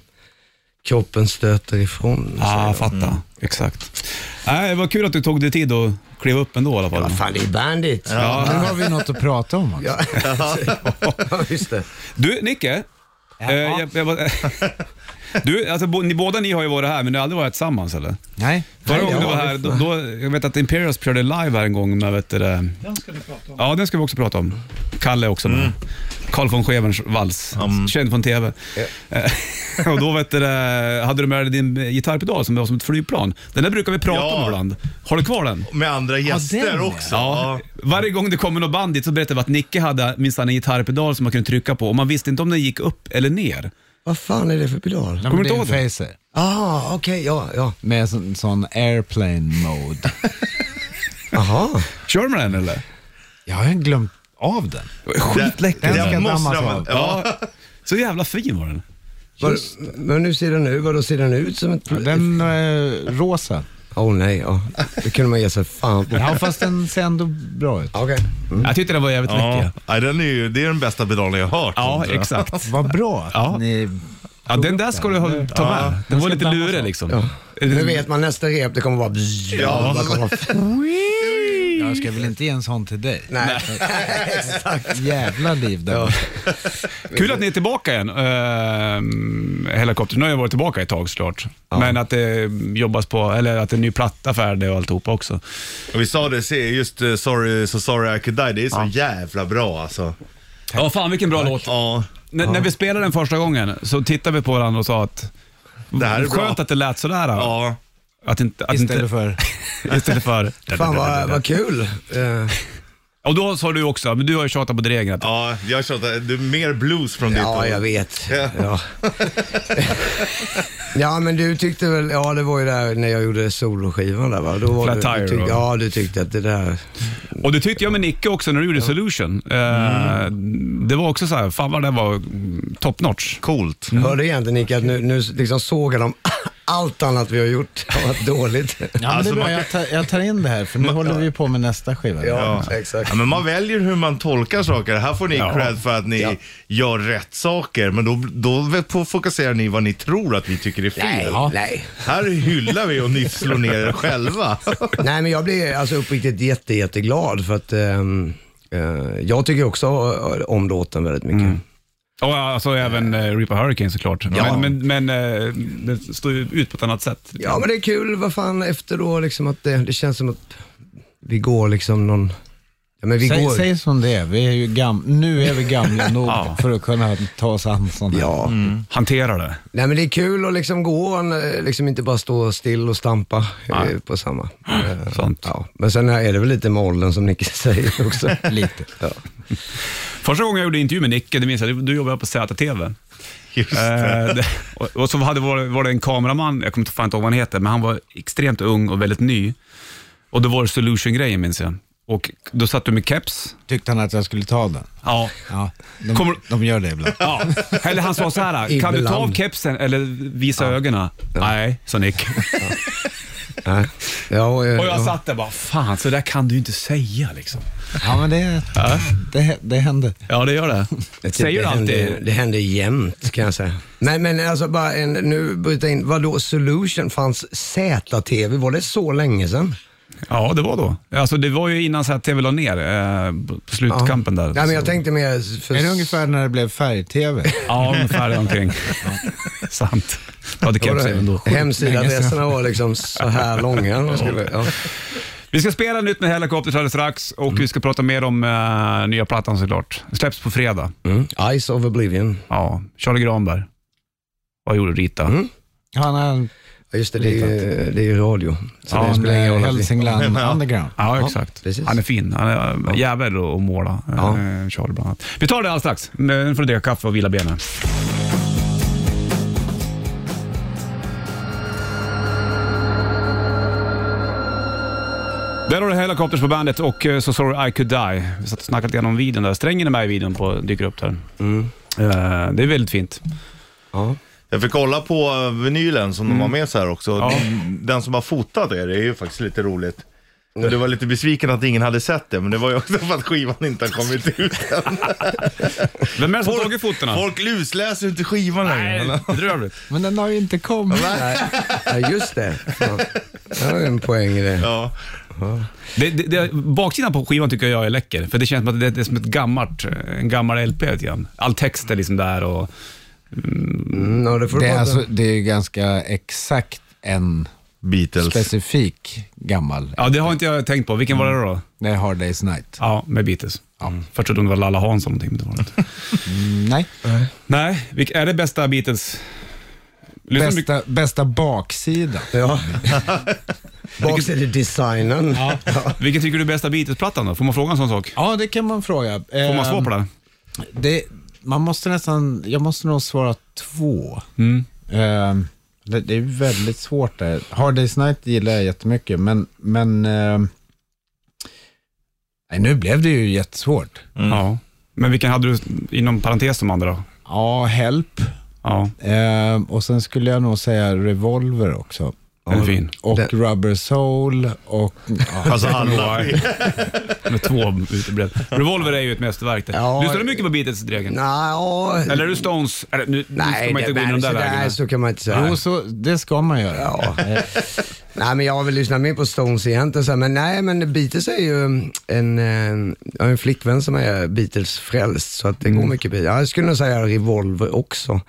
kroppen stöter ifrån. Ja, säger ah, de. fatta. Exakt. Nej, det var kul att du tog dig tid att kliva upp ändå i alla fall. Vad fan, det är Bandit. Nu har vi något att prata om också. Ja, [LAUGHS] ja just det. Du, Nicke. Eh, jag, jag, bara- [LAUGHS] du, alltså, bo, ni, båda ni har ju varit här, men ni har aldrig varit tillsammans eller? Nej. Förra Nej, gången du ja, var här, då, då, jag vet att Imperials körde live här en gång med, vet du, det- Den ska vi prata om. ja den ska vi också prata om. Kalle också med. Carl von Scheverns vals, känd från TV. Eh, [LAUGHS] och då vet du, det, hade du med dig din gitarrpedal som var som ett flygplan. Den där brukar vi prata Ja. om ibland. Har du kvar den? Med andra gäster den, ja. också. Ja. Varje gång det kommer något band dit så berättar vi att Nicke hade minsann en gitarrpedal som man kunde trycka på och man visste inte om den gick upp eller ner. Vad fan är det för pedal? Nej, Kommer men du det är en inte ihåg det? phaser. Ah, okej, ja, ja. Med sån, sån airplane [LAUGHS] mode. Jaha. Kör man den eller? Jag har ju glömt av den. Skitläcker. Den ska Den måste dammas man, av. ja. Ja. Så jävla fin var den. Var, men nu ser den ut, vadå ser den ut som ett... Ja, Den eh, rosa. Åh oh, nej, ja. Det kunde man ge sig fan på. Ja, fast den ser ändå bra ut. Okej. Jag tyckte den var jävligt Mm. Ja. läcker. Nej, den är ju, det är den bästa pedalen jag har hört. Ja, tror jag. [LAUGHS] exakt. Vad bra att Ja. ni... Ja, den där ska du ha- ta med. den var ska lite dammas lurig av. liksom. Nu vet man nästa rep, det kommer vara... Ja. Det kommer vara Jag ska väl inte ge en sån till dig? [LAUGHS] nej. Jävla liv där. Kul att ni är tillbaka igen, ehm, Helikopter. Nu har jag varit tillbaka ett tag såklart. Men att det jobbas på, eller att det är en ny platta färdig och alltihopa också. Och vi sa det, se, just eh, sorry, so sorry I could die, det är så jävla bra alltså. Ja, fan vilken bra låt. Ja. N- När vi spelade den första gången så tittade vi på varandra och sa att Det här är bra. skönt att det lät sådär. Ja. Att inte, att Istället inte, för... [LAUGHS] istället för... Fan [LAUGHS] vad, vad kul. Eh, Och då sa du också, men du har ju tjatat på din egen att Ja, jag tjatar. Det är mer blues från ditt ja, håll. jag vet. Ja. [LAUGHS] ja, men du tyckte väl, ja det var ju där när jag gjorde soloskivan där va? Då var Flat du, Tire du tyckte, då. Ja, du tyckte att det där... Och det tyckte jag med Nicke också när du gjorde Solution. Eh, Det var också så här, fan vad det var mm, top notch. Coolt. Hörde egentligen Nick att nu, nu liksom sågar de [LAUGHS] allt annat vi har gjort har varit dåligt. Ja, men det Alltså, är bra. man- Jag, tar, jag tar in det här för nu håller vi på med nästa skiva. [LAUGHS] Ja, Ja, exakt. men man väljer hur man tolkar saker. Här får ni cred för att ni gör rätt saker, men då, då på- fokuserar ni vad ni tror att vi tycker är fel. Nej, nej. Här hyllar vi och ni slår ner er [LAUGHS] själva. Nej, men jag blir alltså uppriktigt jätte, jätteglad för att ehm, eh, jag tycker också eh, om låten väldigt mycket. Och alltså även eh, Reaper Hurricane såklart. Ja. Men, men, men eh, det står ju ut på ett annat sätt. Ja, men det är kul. Vad fan efter då liksom att det, det känns som att vi går liksom någon... Ja, men vi Säg, går... säg som det är. Vi är ju gam, nu är vi gamla nog för att kunna ta oss an sånt här. Mm. Ja. Hanterar det. Nej, men det är kul att liksom gå, eh, liksom inte bara stå still och stampa eh, på samma. Mm. Eh, Sant. Ja. Men sen är det väl lite med åldern som Nicke [LAUGHS] säger också. Lite. Ja. Första gången jag gjorde intervju med Nicke, det minns jag, du- du jobbade på ZTV. Just det. Eh, det, och, och så hade, var, det- var det en kameraman, jag kommer inte fan inte ihåg vad han heter, men han var extremt ung och väldigt ny. Och då var det Solution-grejen minns jag. Och då satt du med keps. Tyckte han att jag skulle ta den? Ja. Ja, de, Kommer- de gör det ibland. Ja. Eller han sa så här, kan du ta av Ibland. kepsen eller visa ögonen? Nej, sa [LAUGHS] Nick. Nej. ja, och, eh, Och jag ja. satt där bara, fan så där kan du inte säga liksom. Ja, men det, det, det händer. Ja, det gör det. [LAUGHS] Säger du det Händer, alltid. det händer jämt kan jag säga. Nej men alltså bara en, nu bryta in, vadå Solution fanns ZTV, var det så länge sedan? Ja, det var då. Alltså, det var ju innan så här TV la ner, eh, på slutkampen där. Nej men jag Så- tänkte mer för... Är det ungefär när det blev färg-tv? Ja, ungefär där [LAUGHS] omkring. [LAUGHS] Sant. Du hade keps även då. Hemsidaadresserna var liksom så här [LAUGHS] långa. Man skulle, ja. Vi ska spela nytt med Helikopter alldeles strax och Mm. vi ska prata mer om eh, nya plattan såklart. Den släpps på fredag. Mm. Ice of Oblivion. Ja, Charlie Granberg. Vad gjorde Rita? Mm. Han är Ja, just det, det är, ju- det är ju radio. Så det spelar ingen roll. att vi- Hälsingland Underground. Ja, exakt. precis. han är fin. Han är äh, jävel att att måla. Ja. eh, Charlie bland annat. Vi tar det alldeles strax. Nu får du dricka kaffe och vila benen. Där har du Helicopters på bandet och eh, So Sorry I Could Die. Vi satt och snackade lite grann om videon där. Strängen är med i videon på, dyker upp där. Eh, det är väldigt fint. Jag fick kolla på eh, vinylen Mm. som de har med sig här också. Ja. Den som har fotat er, det är ju faktiskt lite roligt. Men du var lite besviken att ingen hade sett det, men det var ju också för att skivan inte har kommit ut än. Vem är det som har Folk- tagit fotona? Folk lusläser ju inte skivan längre. Bedrövligt. Men den har ju inte kommit. Ja, just det. Fan. Det var en poäng i det. Ja. Det, det, det, baksidan på skivan tycker jag är läcker, för det känns som att det, det är som ett gammalt, en gammal LP lite grann. All text är liksom där och... Mm, ja, det får Det du är, prata. alltså, det är ganska exakt en Beatles. specifik gammal. Ja, det har inte jag tänkt på. Vilken var det då? Det är Hard Day's Night. Ja, med Beatles. Först trodde jag det var Lalla Hansson någonting, men det var det inte. Mm, Nej. Nej, vilka, är det bästa Beatles? Lyssnar du mycket- Bästa, bästa baksida. [LAUGHS] Ja. Baksidedesignen. Ja. Vilken tycker du är bästa Beatles-plattan då? Får man fråga en sån sak? Ja, det kan man fråga. Får man svar på det? det, man måste nästan, jag måste nog svara två. Mm. Ehm, det, det är väldigt svårt där. Hard Day's Night gillar jag jättemycket, men, men ehm, nej, nu blev det ju jättesvårt. Ja. Men vilken hade du inom parentes de andra då? Ja, Help. Ja, Ehm, och sen skulle jag nog säga Revolver också. den är fin. Och Det- Rubber Soul och... Ja, Alltså alla. Med två uteblev. Revolver är ju ett mästerverk. Ja. Ja, Lyssnar du mycket på Beatles, Dregen? Nja, Eller är du Stones? Eller, nu, nu Nej, ska man inte det, gå in i nej, de så, där nej, vägarna. så kan man inte säga. jo, så, det ska man göra. Eh, Ja. nej, men jag har väl lyssnat mer på Stones egentligen, så här, men nej, men Beatles är ju mm, en, eh, jag har en flickvän som är Beatles-frälst, så att det Mm. går mycket Beatles. Ja, jag skulle nog säga Revolver också.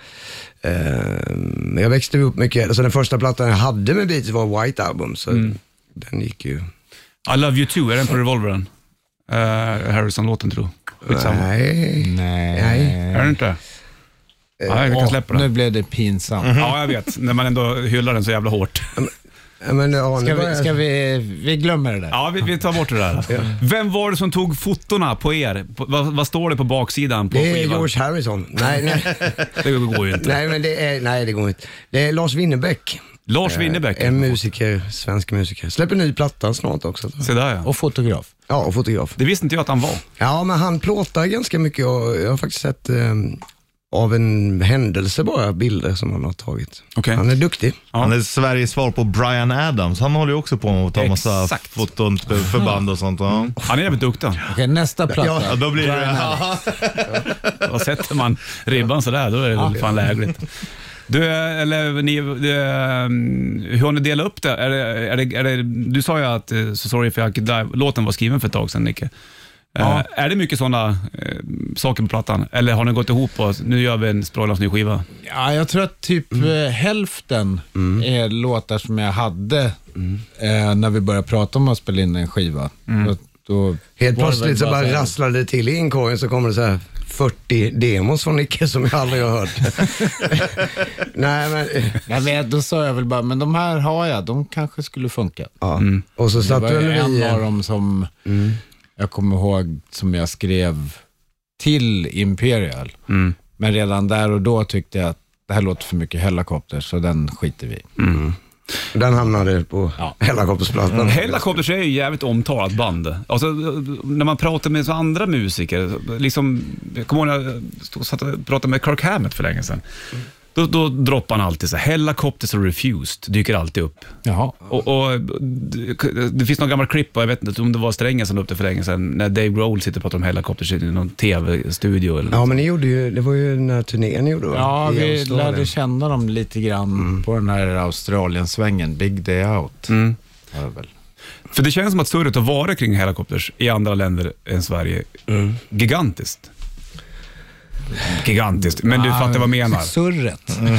Eh, men jag växte upp mycket, alltså den första plattan jag hade med Beatles var White Album, så Mm. den gick ju... I Love You Too, är den på Revolveren? Eh, Harrison-låten tror jag. Skitsamma. Nej. Nej. Nej. Eh, Är det inte? Nej, vi kan Åh, släppa nu den. blev det pinsamt. Mm. Ja, jag vet. När man ändå hyllar den så jävla hårt. Ja, Men, ja, nu Ska vi, börjar- ska vi, vi glömmer det där. Ja, vi, vi tar bort det där. Vem var det som tog fotona på er? På, vad, vad står det på baksidan på Det är skivan? George Harrison. Nej, nej, [LAUGHS] Det går ju inte. nej, men det är, nej, det går inte. Det är Lars Winnerbäck. Lars Winnerbäck. En musiker, svensk musiker. Släpper ny platta snart också. tror jag. Se där ja. Och fotograf. Ja, och fotograf. Det visste inte jag att han var. Ja, men han plåtar ganska mycket och jag har faktiskt sett eh, av en händelse bara bilder som han har tagit. Okej. Han är duktig. Han är Sveriges svar på Brian Adams. Han håller ju också på med att ta massa Exakt. foton för för band och sånt. Ja. Han är jävligt duktig han. Okej, nästa platta. Ja, då blir det... Ja. [LAUGHS] Och sätter man ribban sådär, då är det väl fan lägligt. Du, eh, eller ni, du, eh, hur har ni delat upp det? Är det, är det, är det du sa ju att eh, So Sorry If I Could Die, låten var skriven för ett tag sedan, Nicke. Eh, Är det mycket sådana eh, saker på plattan? Eller har ni gått ihop och nu gör vi en sprallans ny skiva? Ja, jag tror att typ eh, hälften är låtar som jag hade Mm. eh, när vi började prata om att spela in en skiva. Då, då Helt var det plötsligt väl så bara här, rasslade det till i inkorgen så kommer det så här 40 demos från Nicke som jag aldrig har [LAUGHS] hört. Nej, men, eh, Jag vet, då sa jag väl bara, men de här har jag, de kanske skulle funka. ja. Och så Det satt var väl ju en vi... Mm. av dem som jag kommer ihåg som jag skrev till Imperial. Men redan där och då tyckte jag att det här låter för mycket helikopter, så den skiter vi i. Den hamnade på Ja. Hellacoptersplattan. Mm. Hellacopters är ju ett jävligt omtalat band. Alltså, när man pratar med så andra musiker, liksom, jag kommer ihåg när jag stod- satt och pratade med Kirk Hammett för länge sedan. Då, då droppar han alltid så här, Hellacopters och Refused dyker alltid upp. Jaha. Och, och, det- det finns någon gammal klipp, och jag vet inte om det var Strängen som la upp det för länge sedan, när Dave Grohl sitter och pratar om Hellacopters i någon tv-studio. Eller Ja, men ni gjorde ju, det var ju den här turnén ni gjorde va? Ja, I vi Australien. Mm. lärde känna dem lite grann på den här Australien-svängen, Big Day Out. Var det väl. För det känns som att surret har varit kring Hellacopters i andra länder än Sverige gigantiskt. Gigantiskt, men du fattar vad jag menar. Surret. Mm.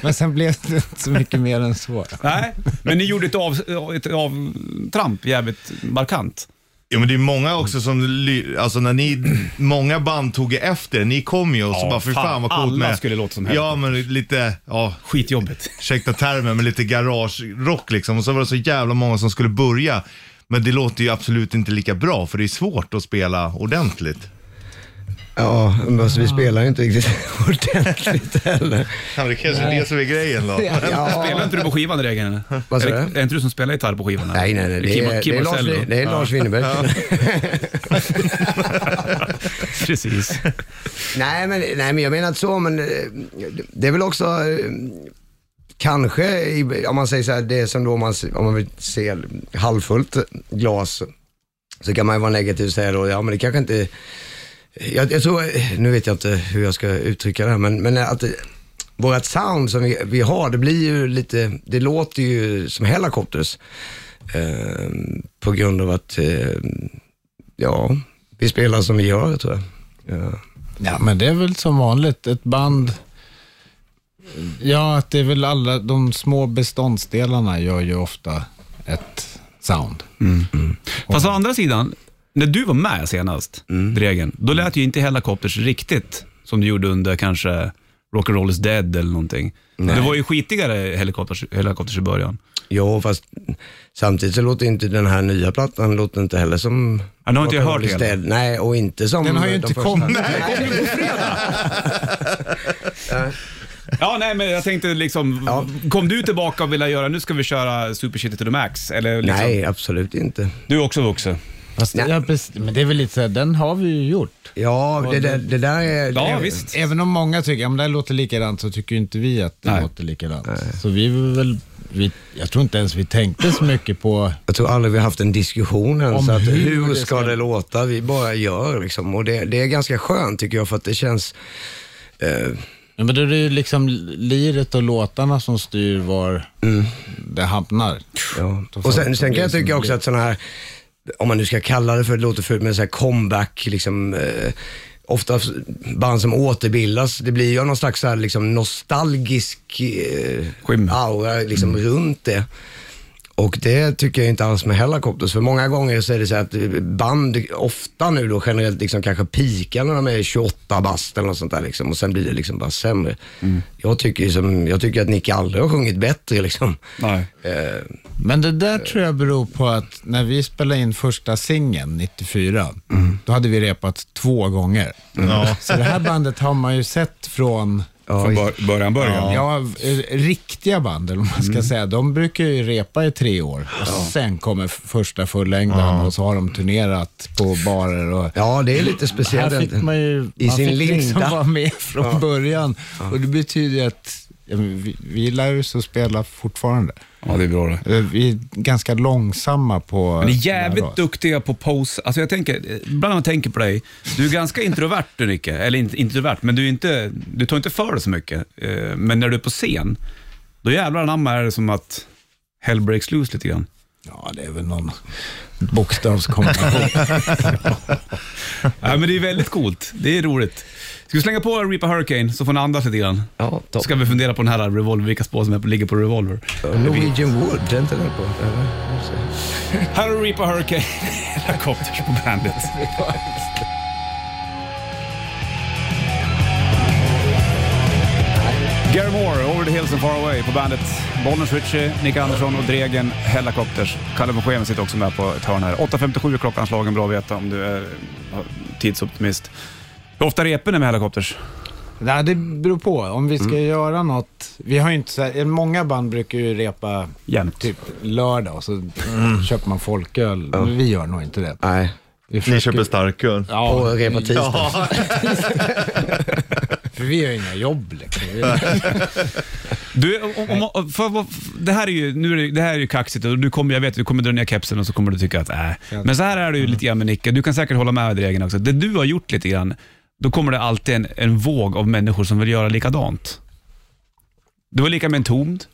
[LAUGHS] Men sen blev det inte så mycket mer än så. [LAUGHS] Nej, men ni gjorde ett, av, ett avtramp jävligt markant. Jo, men det är många också som, ly- alltså när ni, många band tog efter, ni kom ju och så Ja, bara, för fan, fan, vad coolt alla med. skulle låta som Ja, men lite, ja, [LAUGHS] Skitjobbigt. ursäkta termen, men lite garagerock liksom. Och så var det så jävla många som skulle börja. Men det låter ju absolut inte lika bra, för det är svårt att spela ordentligt. Ja, men alltså, vi spelar ju inte riktigt [LAUGHS] [LAUGHS] ordentligt heller. Det är kanske Nej. det som är grejen då. [LAUGHS] Ja. Spelar inte du på skivan i regeln? eller? Vad sa Är det- du? Är det inte du som spelar gitarr på skivan? eller? Nej, nej, nej. Det Kim- är, Kim det är, Lars, Marcello. det är Lars Winnerbäck. [LAUGHS] Precis. Nej men, nej, men jag menar inte så, men eh, det är väl också eh, kanske, i- om man säger så här, det är som då om man, s- om man vill se halvfullt glas, så kan man ju vara negativ och säga då, ja men det kanske inte, jag, jag tror, nu vet jag inte hur jag ska uttrycka det här, men, men att det- vårat sound som vi, vi har, det blir ju lite, det låter ju som Hellacopters. Eh, på grund av att, eh, ja, vi spelar som vi gör tror jag. Ja. Ja, men det är väl som vanligt. Ett band... Ja, att det är väl alla de små beståndsdelarna gör ju ofta ett sound. Fast å andra sidan, när du var med senast, Dregen, då lät ju inte Hellacopters riktigt som du gjorde under kanske Rock'n'Roll is dead eller någonting. Det var ju skitigare Hellacopters, Hellacopters i början. Jo, fast samtidigt så låter inte den här nya plattan låter inte heller som... Ja, nu har inte jag hört Rock'n'Roll hela. Stead. Nej, och inte som... Den har ju de inte första. kommit. [LAUGHS] Liksom. Ja, nej, men jag tänkte liksom, kom du tillbaka och ville göra, nu ska vi köra Super Shitty to the Max? Eller liksom, Nej, absolut inte. Du är också vuxen. Fast, ja, precis. men det är väl lite så här, den har vi ju gjort. Ja, det, där- det där är... Ja, det, visst. Även om många tycker att det här låter likadant så tycker ju inte vi att det Nej. låter likadant. Så vi var väl, vi, jag tror inte ens vi tänkte så mycket på Jag tror aldrig vi har haft en diskussion Om ens, att hur hur, det ska, ska- det låta? Vi bara gör liksom. Och det, det är ganska skönt tycker jag, för att det känns... eh, Ja, men det är ju liksom liret och låtarna som styr var det hamnar. Mm. Ja. Och sen, sen kan liksom jag tycka också att sådana här, om man nu ska kalla det för, det låter fult, men så här comeback, liksom, eh, ofta s- band som återbildas, det blir ju någon slags så här, liksom, nostalgisk eh, Skymma. aura liksom, Mm. runt det. Och det tycker jag inte alls med Hellacopters, för många gånger så är det så här att eh, band ofta nu då generellt liksom kanske pikar när de är 28 bast eller något sånt där liksom, och sen blir det liksom bara sämre. Mm. Jag, tycker ju som, jag tycker att Nick aldrig har sjungit bättre liksom. Nej. Eh, Men det där tror jag beror på att när vi spelade in första singeln 94, Mm. då hade vi repat två gånger. Ja. Så det här bandet har man ju sett från Från bör- början, början. Ja, eh, riktiga band, eller vad man ska säga, de brukar ju repa i tre år. Och Sen kommer f- första fullängdaren och så har de turnerat på barer och Ja, det är lite speciellt. Här fick man ju I man sin fick liksom linda. vara med från början. Och det betyder ju att ja, men vi, vi lär oss att spela fortfarande. Ja, det är bra det. Eh, Vi är ganska långsamma på... Men ni är där då. jävligt duktiga på pose. Alltså jag tänker, eh, ibland när man tänker på dig, du är ganska [LAUGHS] introvert du Nicke. Eller inte introvert, men du, är inte, du tar inte för dig så mycket. Eh, Men när du är på scen, då jävlar anamma är det som att hell breaks loose lite grann. Ja, det är väl någon bokstavskombination. Ja, men det är väldigt coolt. Det är roligt. Ska vi slänga på Reaper Hurricane så får ni andas lite grann? [LAUGHS] Ja, Så ska vi fundera på den här Revolver, vilka spår som är på, ligger på Revolver. Norwegian Wood, är inte den på? eller? Här har Reaper Hurricane, [LAUGHS] Helicopters på [LAUGHS] bandet. Gary Moore, Over the Hills and Far Away på bandet. Bollnäs Ritchie, Nick Andersson och Dregen Hellacopters. Kalle von Scheven sitter också med på ett hörn här. 8.57 är klockanslagen, bra att veta om du är eh, tidsoptimist. Hur ofta reper ni med Mm. Hellacopters? Nej, det beror på. Om vi ska göra något. Vi har ju inte så här, många band brukar ju repa Jämt. typ lördag och så köper man folköl. Men vi gör nog inte det. Nej. Vi Ni försöker- köper starköl. Ja, Och repa tisdag. Ja, För vi har ju inga jobb liksom. Vi- Du, om, om, för, vad- det, här är ju, nu är det, det här är ju kaxigt och du kommer, jag vet du kommer dra ner kepsen och så kommer du tycka att äh. Men så här är det ju lite grann med Nicke, du kan säkert hålla med Dregen också. Det du har gjort lite grann, då kommer det alltid en, en våg av människor som vill göra likadant. Du var lika med en tomd.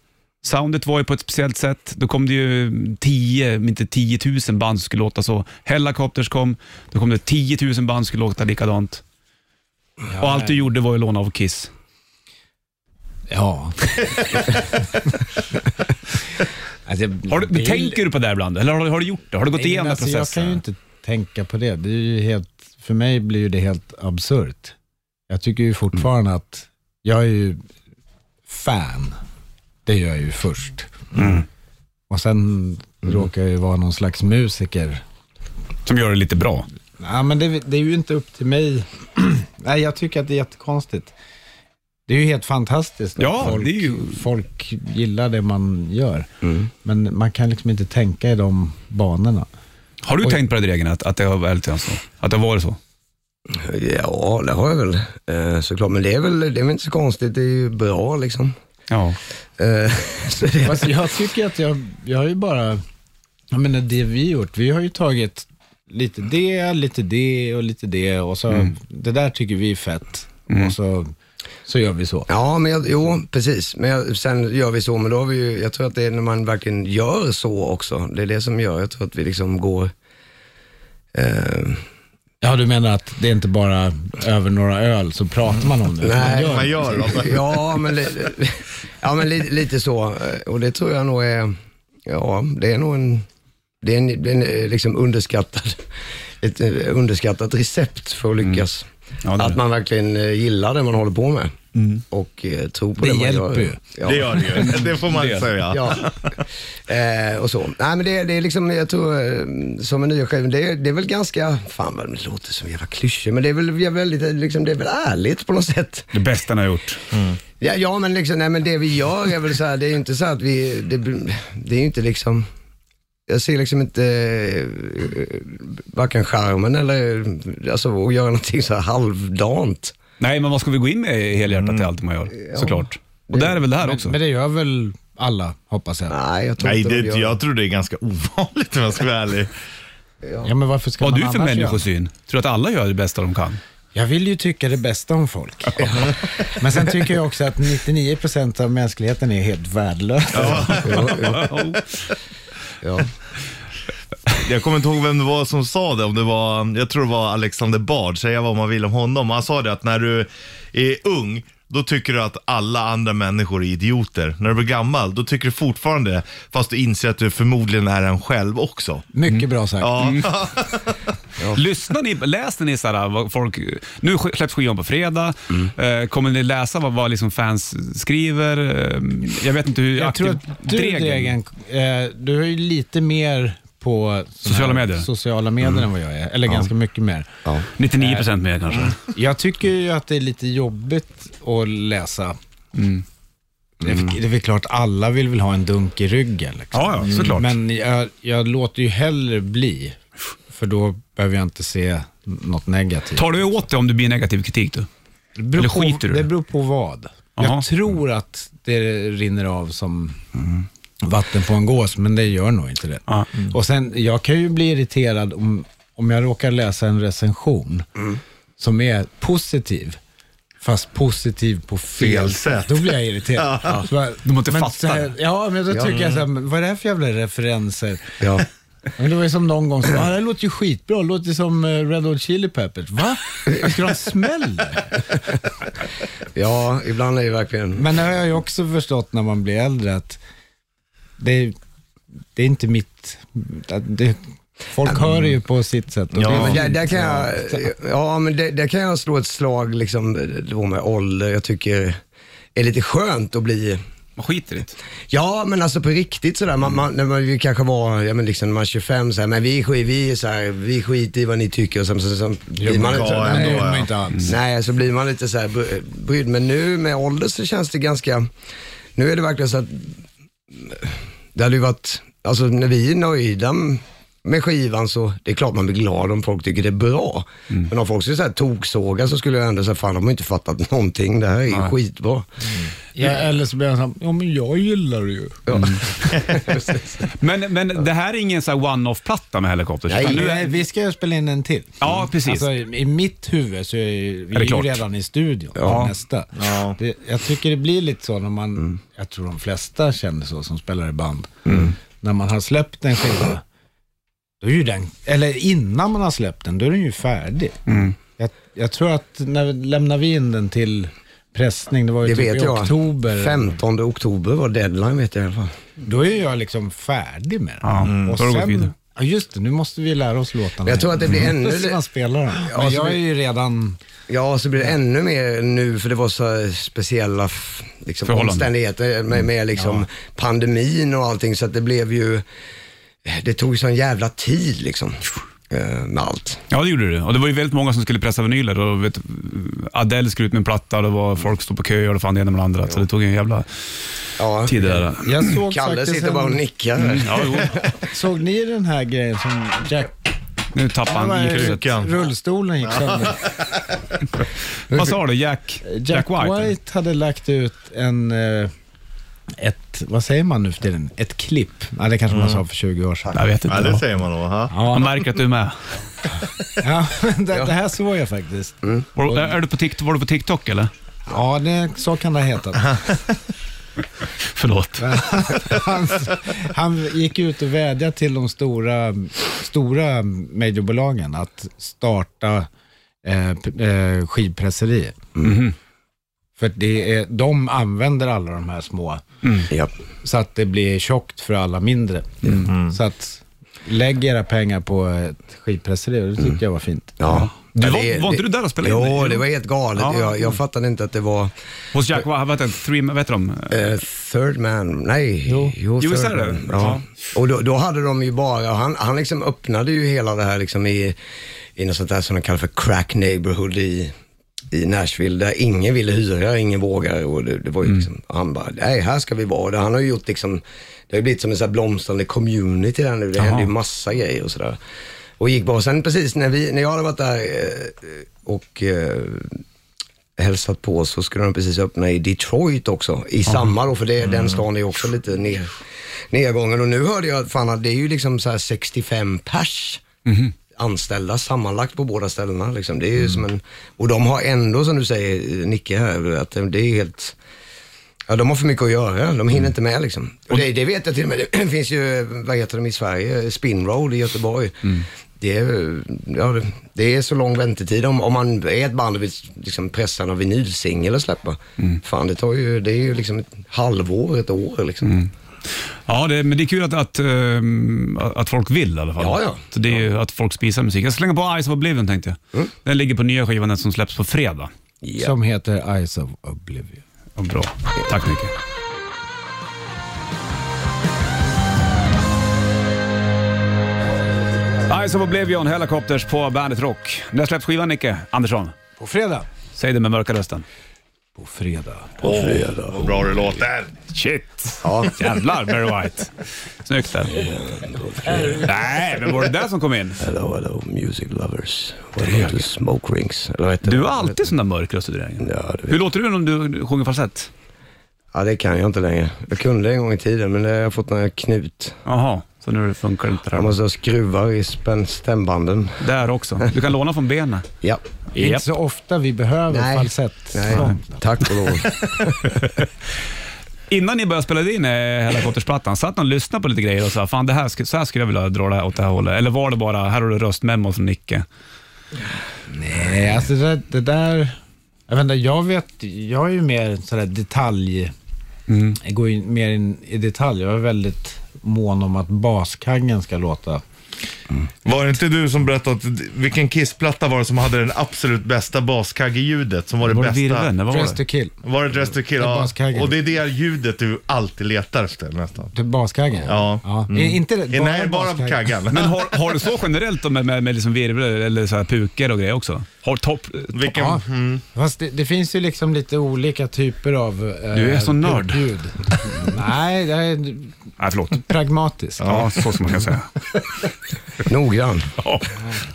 Soundet var ju på ett speciellt sätt. Då kom det ju 10, om inte 10 000 band som skulle låta så. Hellacopters kom, då kom det 10 000 band som skulle låta likadant. och allt du gjorde var ju låna av Kiss. [LAUGHS] Ja. [LAUGHS] alltså, jag- Har du, det är- tänker du på det här ibland? Eller har, du- har du gjort det? Har du gått Nej, men igenom alltså, processen? Jag kan ju inte tänka på det. det är ju helt, för mig blir ju det helt absurt. Jag tycker ju fortfarande att jag är ju fan. Det gör jag ju först. Och sen råkar jag ju vara någon slags musiker. Som gör det lite bra. Ja, men det, det är ju inte upp till mig [CLEARS THROAT] Nej, jag tycker att det är jättekonstigt. Det är ju helt fantastiskt att Ja, folk, det är ju... folk gillar det man gör. Mm. Men man kan liksom inte tänka i de banorna. Har du tänkt på den regeln, att, att det har varit så? alltså? Att det har varit så? Ja, det har jag väl eh, såklart. Men det är väl, det är väl inte så konstigt. Det är ju bra liksom. Ja. Eh, [LAUGHS] så det, Fast jag tycker att jag, jag har ju bara, jag menar det vi gjort, vi har ju tagit lite det, lite det och lite det och så, det där tycker vi är fett. Och så, så gör vi så. Ja, men jag, jo, precis. Men jag, sen gör vi så, men då har vi ju, jag tror att det är när man verkligen gör så också. Det är det som gör, jag tror att vi liksom går... Eh, Ja, du menar att det är inte bara över några öl så pratar man om det. utan man gör [LAUGHS] Man gör det. dem. [LAUGHS] ja, men, li, ja, men li, lite så. Eh, Och det tror jag nog är, ja, det är nog en, det är en, det är en eh, liksom underskattad, [LAUGHS] ett eh, underskattat recept för att lyckas. Ja, det är att det. man verkligen eh, gillar det man håller på med och eh, tror på Det det, man gör. hjälper ju. Ja. Det gör det ju. Det får man Det. säga. Ja. Eh, och så. Nej men det, det är liksom, jag tror, eh, som en nya skiva, det, det är väl ganska, fan vad det låter som jävla klyschor, men det är väl, jag är väldigt, liksom, det är väl ärligt på något sätt. Det bästa ni har gjort. Ja, ja men, liksom, nej, men det vi gör är väl så här, det är ju inte så att vi, det, det är ju inte liksom, jag ser liksom inte eh, varken charmen eller, alltså att göra någonting så här halvdant. Nej, men vad ska vi gå in med helhjärtat i allt man gör? Såklart. Och där är väl det här också? Men Mm. det gör väl alla, hoppas jag. Nej, jag tror Nej, inte det, de gör- jag tror det är ganska ovanligt om jag ska vara ärlig. Ja, men varför ska Vad har man du för annars göra? människosyn? Tror du att alla gör det bästa de kan? Jag vill ju tycka det bästa om folk. [LAUGHS] Men sen tycker jag också att 99% av mänskligheten är helt värdelös. [LAUGHS] ja. Jag kommer inte ihåg vem det var som sa det, om det var, jag tror det var Alexander Bard, säga vad man vill om honom. Han sa det att när du är ung, då tycker du att alla andra människor är idioter. När du blir gammal, då tycker du fortfarande det, fast du inser att du förmodligen är en själv också. Mycket bra sagt. Ja, Lyssnar ni, läser ni såhär, vad folk, nu sk- släpps skivan på fredag, eh, kommer ni läsa vad, vad liksom fans skriver? Eh, jag vet inte hur Jag aktiv tror att du, Dregen- Dregen, eh, du är ju lite mer på såna Sociala här medier. sociala medier Mm. än vad jag är. Eller ganska mycket mer. 99% mer kanske. Jag tycker ju att det är lite jobbigt att läsa. Mm. Det, är, väl- det är väl klart, alla vill väl ha en dunk i ryggen. Liksom. Ja, ja, såklart. Men jag, jag låter ju hellre bli, för då behöver jag inte se något negativt. Tar du åt dig om det blir negativ kritik du? Det beror Eller på, skiter du i Det det? beror på vad. Jaha. Jag tror att det rinner av som vatten på en gås, men det gör nog inte det. Ja. Och sen, jag kan ju bli irriterad om, om jag råkar läsa en recension som är positiv, fast positiv på fel, Fel sätt. Då blir jag irriterad. Så bara, De har inte men fattat så här, det. Ja, men då tycker jag så här, men vad är det här för jävla referenser? Ja. Men det var ju som någon gång som, ah, det här låter ju skitbra, det låter som eh, Red Hot Chili Peppers. Va? Ska de smälla? ja, ibland är det verkligen, Men det har jag ju också förstått när man blir äldre att det är, det är inte mitt... att Det, folk hör det ju på sitt sätt. Och Ja. det Ja, är men väl där, där, kan jag, inte- ja, men där, där kan jag slå ett slag liksom, då med ålder. Jag tycker är lite skönt att bli Man skiter i det. Ja, men alltså på riktigt sådär. Man, man, när man ju kanske var, ja men liksom när man var 25 såhär, men vi, skit, vi, är så här, vi skiter i vad ni tycker och sen så, så, så blir man men lite ja, Men det nej, är ja. man inte alls. nej, så blir man lite såhär bry- brydd. Men nu med ålder så känns det ganska, nu är det verkligen så att det hade ju varit, alltså när vi är nöjda med skivan så, det är klart man blir glad om folk tycker det är bra. Mm. Men om folk skulle så här toksåga så skulle jag ändå säga, fan de har inte fattat någonting, det här är ju skitbå. Ja, eller så blir jag såhär, ja men jag gillar det ju. Men, men det här är ingen så här one-off-platta med Helikopters? utan nu Nej, är- vi ska ju spela in en till. Ja, precis. Alltså, i, I mitt huvud så är ju- vi det är ju klart? redan i studion Ja. nästa. Ja. Det, jag tycker det blir lite så när man, Mm. jag tror de flesta känner så som spelar i band. När man har släppt en skiva, då är ju den, eller innan man har släppt den, då är den ju färdig. Mm. Jag, jag tror att, när lämnar vi in den till pressning, det var ju Det typ vet i jag. oktober. 15 oktober var deadline vet jag i alla fall. Då är jag liksom färdig med den. Ja, mm. Och då har det gått vidare. sen, ja just det, nu måste vi lära oss låtarna. Men jag tror att det blir Då ännu, [LAUGHS] ska man spela dem. Ja, alltså Men så jag är blir- ju redan... ja, så blir det ännu mer nu för det var så här speciella f- liksom, Förhållanden. omständigheter med, med liksom pandemin och allting så att det blev ju, det tog sån jävla tid liksom. eh, med allt. Ja, det gjorde du. Och det var ju väldigt många som skulle pressa vinyler. Och vet, Adele skulle ut med en platta och det var folk stod på kö och det fann det ena med det andra. Så det tog en jävla tid det där. Jag såg Kalle faktiskt sitter en- bara och nickar här. Mm, ja, jo. Såg ni den här grejen som Jack... Nu tappade Ja, han men- ikruset. Rullstolen gick sönder. Vad sa du? Jack, Jack, Jack White? White, eller? hade lagt ut en, eh, ett, vad säger man nu för tiden? Ett klipp. Ja, det kanske man sa för 20 år sedan. Jag vet inte. Ja, det vad. säger man nog. Aha. Han märker att du är med. [LAUGHS] Ja, men det, det här såg jag faktiskt. Var, är du på TikTok, var du på TikTok eller? Ja, det, så kan det ha hetat. Förlåt. Han, han gick ut och vädjade till de stora, stora majorbolagen att starta eh, p- eh, skivpresserier. Mm-hmm. För det är, de använder alla de här små. Ja. så att det blir tjockt för alla mindre. Mm-hmm. Så att lägg era pengar på ett skivpresseri och det tyckte jag var fint. Ja. Du Ja, var- det- var inte det- du där och spelade in Jo, det? det var helt galet. Ja. Jag, jag fattade inte att det var Hos Jack White, vad heter han? Three, vad heter de? eh, Third Man. Nej, jo, Jo, Third så är det. Man. Ja. Ja. Och då, då hade de ju bara, han, han liksom öppnade ju hela det här liksom i, i något sånt där som de kallar för crack neighborhood i, i Nashville, där ingen ville hyra, ingen vågade. Och det, det var ju liksom, han bara, nej, här ska vi vara. Det, han har ju gjort liksom, det har ju blivit som en sån här blomstrande community där nu. Det händer ju massa grejer och sådär. Och gick bara, sen precis när, vi, när jag hade varit där eh, och eh, hälsat på så skulle de precis öppna i Detroit också i samma då, för det, den stan är också lite ner, nedgången. Och nu hörde jag att fan, att det är ju liksom så här 65 pers anställda sammanlagt på båda ställena. Liksom. Det är ju som en, och de har ändå, som du säger eh, Nicke här, att det är helt Ja, de har för mycket att göra. De hinner inte med liksom. Och det, det vet jag till och med. Det [CLEARS THROAT] finns ju, vad heter de i Sverige, Spinroad i Göteborg. Det, är, ja, det- det är så lång väntetid om, om man är ett band och vill liksom pressa en vinylsingel och släppa. Fan, det, tar ju, det är ju liksom ett halvår, ett år liksom. Ja, det, men det är kul att, att, ehm, att folk vill i alla fall. Ja, Mm. ja. Så det är ju att folk spisar musik. Jag slänger på Eyes of Oblivion tänkte jag. Den ligger på nya skivan den som släpps på fredag. Ja. Som heter Eyes of Oblivion. Och bra. Tack Micke. Eyes of Oblivion, Helicopters på Bandet Rock. När släpps skivan Nicke Andersson? På fredag. Säg det med mörka rösten. På fredag. Vad Oh. bra det låter. Shit! Jävlar Barry White. Snyggt där. Nej, men var det där som kom in? Hello, hello music lovers. Welcome to smoke rings. Eller vad heter Du det? har alltid sån där mörk röst i drängen. Ja, det vet Hur låter du när du sjunger falsett? ja, det kan jag inte längre. Jag kunde en gång i tiden, men det har jag fått några knut. Jaha, så nu funkar det inte det Jag här. måste ha skruvar i spänn- stämbanden. Där också. Du kan låna från benen. Ja. Det är Inte så ofta vi behöver Nej. falsett. Nej, tack [LAUGHS] och lov. Innan ni började spela in eh, Helikoptersplattan, satt ni och lyssnade på lite grejer och sa fan det här, sk- så här skulle jag vilja dra det här åt det här hållet? Eller var det bara, här har du röstmemo från Nicke? Nej, alltså det, där- det där... Jag vet inte, jag vet... Jag är ju mer sådär detalj... Mm. Jag går in mer in i detalj. Jag är väldigt mån om att baskangen ska låta... Var det inte du som berättade att vilken kissplatta var det som hade den absolut bästa baskaggeljudet? Som var det, Var det bästa? virveln? eller Vad Dress var to det? kill. Var det Dress to kill? Det är Ja. baskaggen. Och det är det ljudet du alltid letar efter nästan. Till Typ baskaggen? Ja. I- Inte det- Bara Nej, bara på kaggan. Men har, har du så generellt då med, med, med liksom virvlar eller så här puker och grejer också? Har topp... Vilken, Ja, mm. fast det, det finns ju liksom lite olika typer av... eh, Du är så nörd. ljud. Nej, jag är Nej, förlåt. pragmatisk. Ja, så ska man [LAUGHS] kunna säga. Noggrann. Ja, Nej,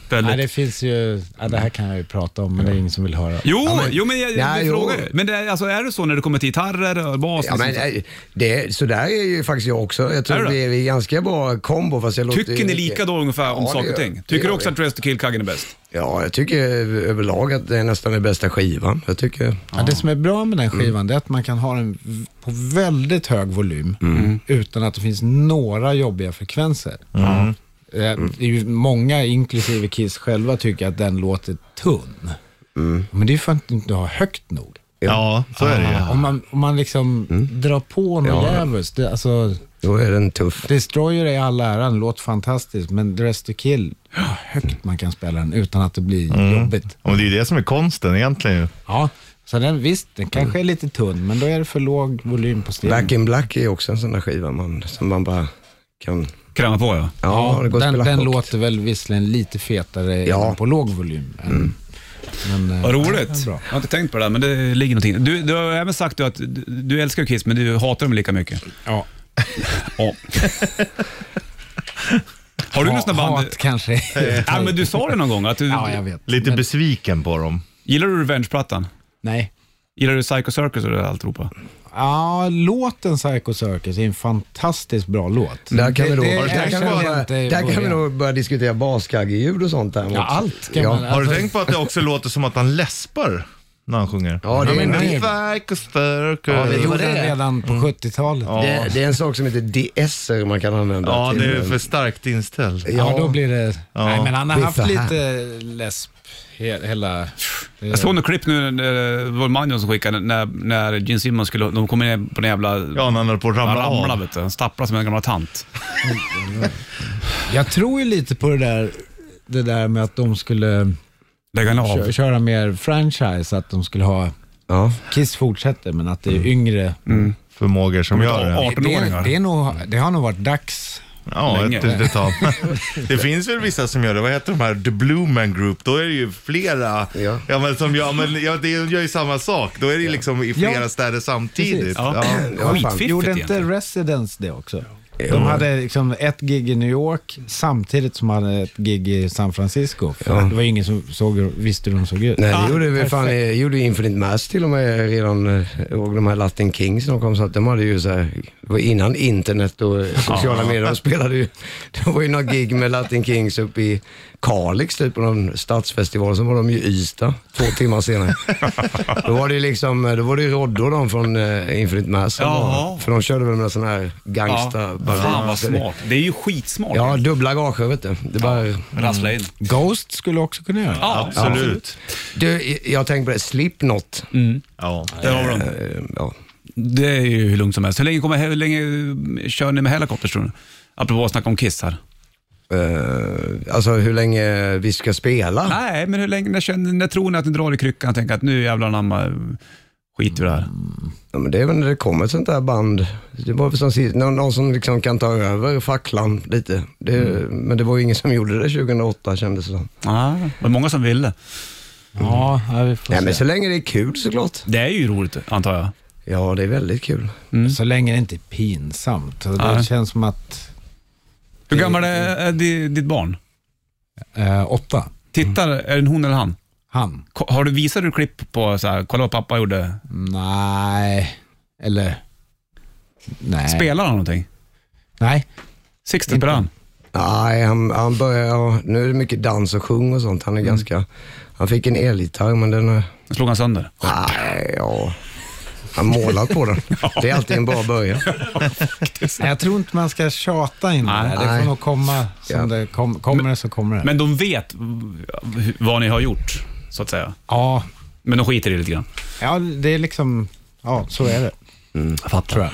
väldigt. det finns ju... Ja, det här kan jag ju prata om, men det är ingen som vill höra. Jo, jo, men jag, Ja, jag jo. frågar ju. Men det, är- alltså, är det så när det kommer till gitarrer och bas? liksom Ja, och men, sånt? eh, det, så där är ju faktiskt jag också. Jag Är tror det? vi är i ganska bra kombo. Fast jag låter ju Tycker ni mycket- lika då ungefär om Ja, det saker och gör- ting? det Tycker du gör också vi. att Dress to Kill-kaggen är bäst? Ja, jag tycker överlag att det är nästan den bästa skivan. Jag tycker... Ja, det som är bra med den skivan det är att man kan ha den v- på väldigt hög volym utan att det finns några jobbiga frekvenser. Eh, Det är ju många, inklusive Kiss själva, tycker att den låter tunn. Men det är ju för att du inte har högt nog. ja, så är det ju. Om man, om man liksom drar på något djävulskt. det- Alltså, Då är den tuff. Destroyer är all äran, låt fantastiskt, men Dress to kill, vad högt man kan spela den utan att det blir jobbigt. Ja, men det är ju det som är konsten egentligen ju. Ja, så den, visst, den kanske är lite tunn, men då är det för låg volym på stilen. Back in Black är också en sån där skiva man, som man bara kan... Kräma på ja. Ja, det går att den, spela den högt. låter väl visserligen lite fetare Ja. på låg volym. Än, Mm. men, eh, Vad ja, det är roligt. bra. Jag har inte tänkt på det där, men det ligger någonting. Du, du har även sagt du, att du, du älskar ju Kiss, men du hatar dem lika mycket. Ja. ja. [LAUGHS] Har du Ha- något sånt där band? hat [LAUGHS] kanske. ja, men du sa det någon gång. Att du, Ja, jag vet. Lite besviken på dem. Gillar du Revenge-plattan? Nej. Gillar du Psycho Circus och det där alltihopa? Ja, låten Psycho Circus är en fantastiskt bra låt. Där kan, vi, då, Det- där kan, vi, erkände nog jag börja, inte i där kan vi början. nog börja diskutera baskaggeljud och sånt däremot. Ja, allt kan man- Har du tänkt på att det också låter som att han läspar när han sjunger? Ja, det är- men det är- Psycho Circus. Ja, det Mm. gjorde den det. redan på 70-talet. Det, det är en sak som heter deesser man kan använda Ja, till, det är eh, för starkt inställd. Ja, då blir det... Ja. Nej, men han har Det är haft så här. lite läsp he- hela... Jag såg något klipp nu, eh, det var Manjon som skickade, när, när Gene Simmons skulle, de kom in på den jävla... Ja, när han höll på att ramla han av. ramlade, vet du. Han stapplade som en gammal tant. Jag tror ju lite på det där, det där med att de skulle Lägg henne av. kö- köra mer franchise, att de skulle ha... Ja. Mm. Kiss fortsätter, men att det är yngre. Förmågor som gör det. 18-åringar. Det, det, är nog, det har nog varit dags. Ja, Länge. ett litet tag. [LAUGHS] Det finns väl vissa som gör det. Vad heter de här? The Blue Man Group. Då är det ju flera Ja. Ja, men som gör, men, ja, det gör ju samma sak. Då är det ju liksom i flera Ja. städer samtidigt. Precis. Ja. Ja, fan. Skitfiffigt Gjorde inte egentligen. Residence det också? De hade liksom ett gig i New York samtidigt som de hade ett gig i San Francisco. För Det var ingen som såg, visste hur de såg ut. Nej, Ah, det gjorde vi fan, perfekt. eh, gjorde ju Infinite Mass till och med redan, eh, jag ihåg de här Latin Kings som kom, så att de hade ju så här, det var innan internet och eh, sociala medier, de spelade ju, det var ju några gig med Latin Kings uppe i Kalix typ, på någon stadsfestival, sen var de ju i Ystad två timmar senare. då var det ju liksom, eh, då var det ju Roddo de från eh, Infinite Mass som Jaha. var, för de körde väl med sån här gangsta Ja. Fan vad smart. Det är ju skitsmart. Ja, dubbla gage vet du. Det bara, Rassla in. Ghost skulle också kunna göra det. Ja, Absolut. du, jag tänkte på det, Slipknot. Ja. Där har vi dem. Eh, ja. Det är ju hur lugnt som helst. Hur länge, kommer, hur länge eh, kör ni med helikopters tror ni? Apropå att snacka om Kiss här. Eh, alltså hur länge vi ska spela? Nej, men hur länge, när, känner, när tror ni att ni drar i kryckan och tänker att nu jävlar anamma skiter vi i det här? Ja, men det är väl när det kommer ett sånt där band. Det var väl som sist, någon, någon som liksom kan ta över facklan lite. Det, Men det var ju ingen som gjorde det 2008 kändes det som. Ja, Mm. Ah, det var många som ville. Ja, ja, vi får Mm. Nej men se. så länge det är kul såklart. Det är ju roligt antar jag. Ja, det är väldigt kul. Så länge det inte är pinsamt. Och Det Nej. känns som att... Hur gammal är, är di- ditt barn? Eh, åtta, Tittar, är det hon eller han? han. Ko- Har du visat du klipp på så här, kolla vad pappa gjorde? Nej, eller... Nej. Spelar han någonting? Nej. 60 per an? Nej, han, han börjar, ja, nu är det mycket dans och sjung och sånt. Han Mm. är ganska, han fick en elgitarr men den eh, [LAUGHS] är, Den slog han sönder. nej, ja. Han målar på den. Det är alltid en bra början. Nej, Jag tror inte man ska tjata in det här. Det Nej. får nog komma som Ja. det kom, kommer. det så kommer det. Men de vet v- vad ni har gjort, så att säga. ja, Men de skiter i det lite grann. ja, det är liksom... Ja, så är det. Mm. Jag fattar. Tror jag.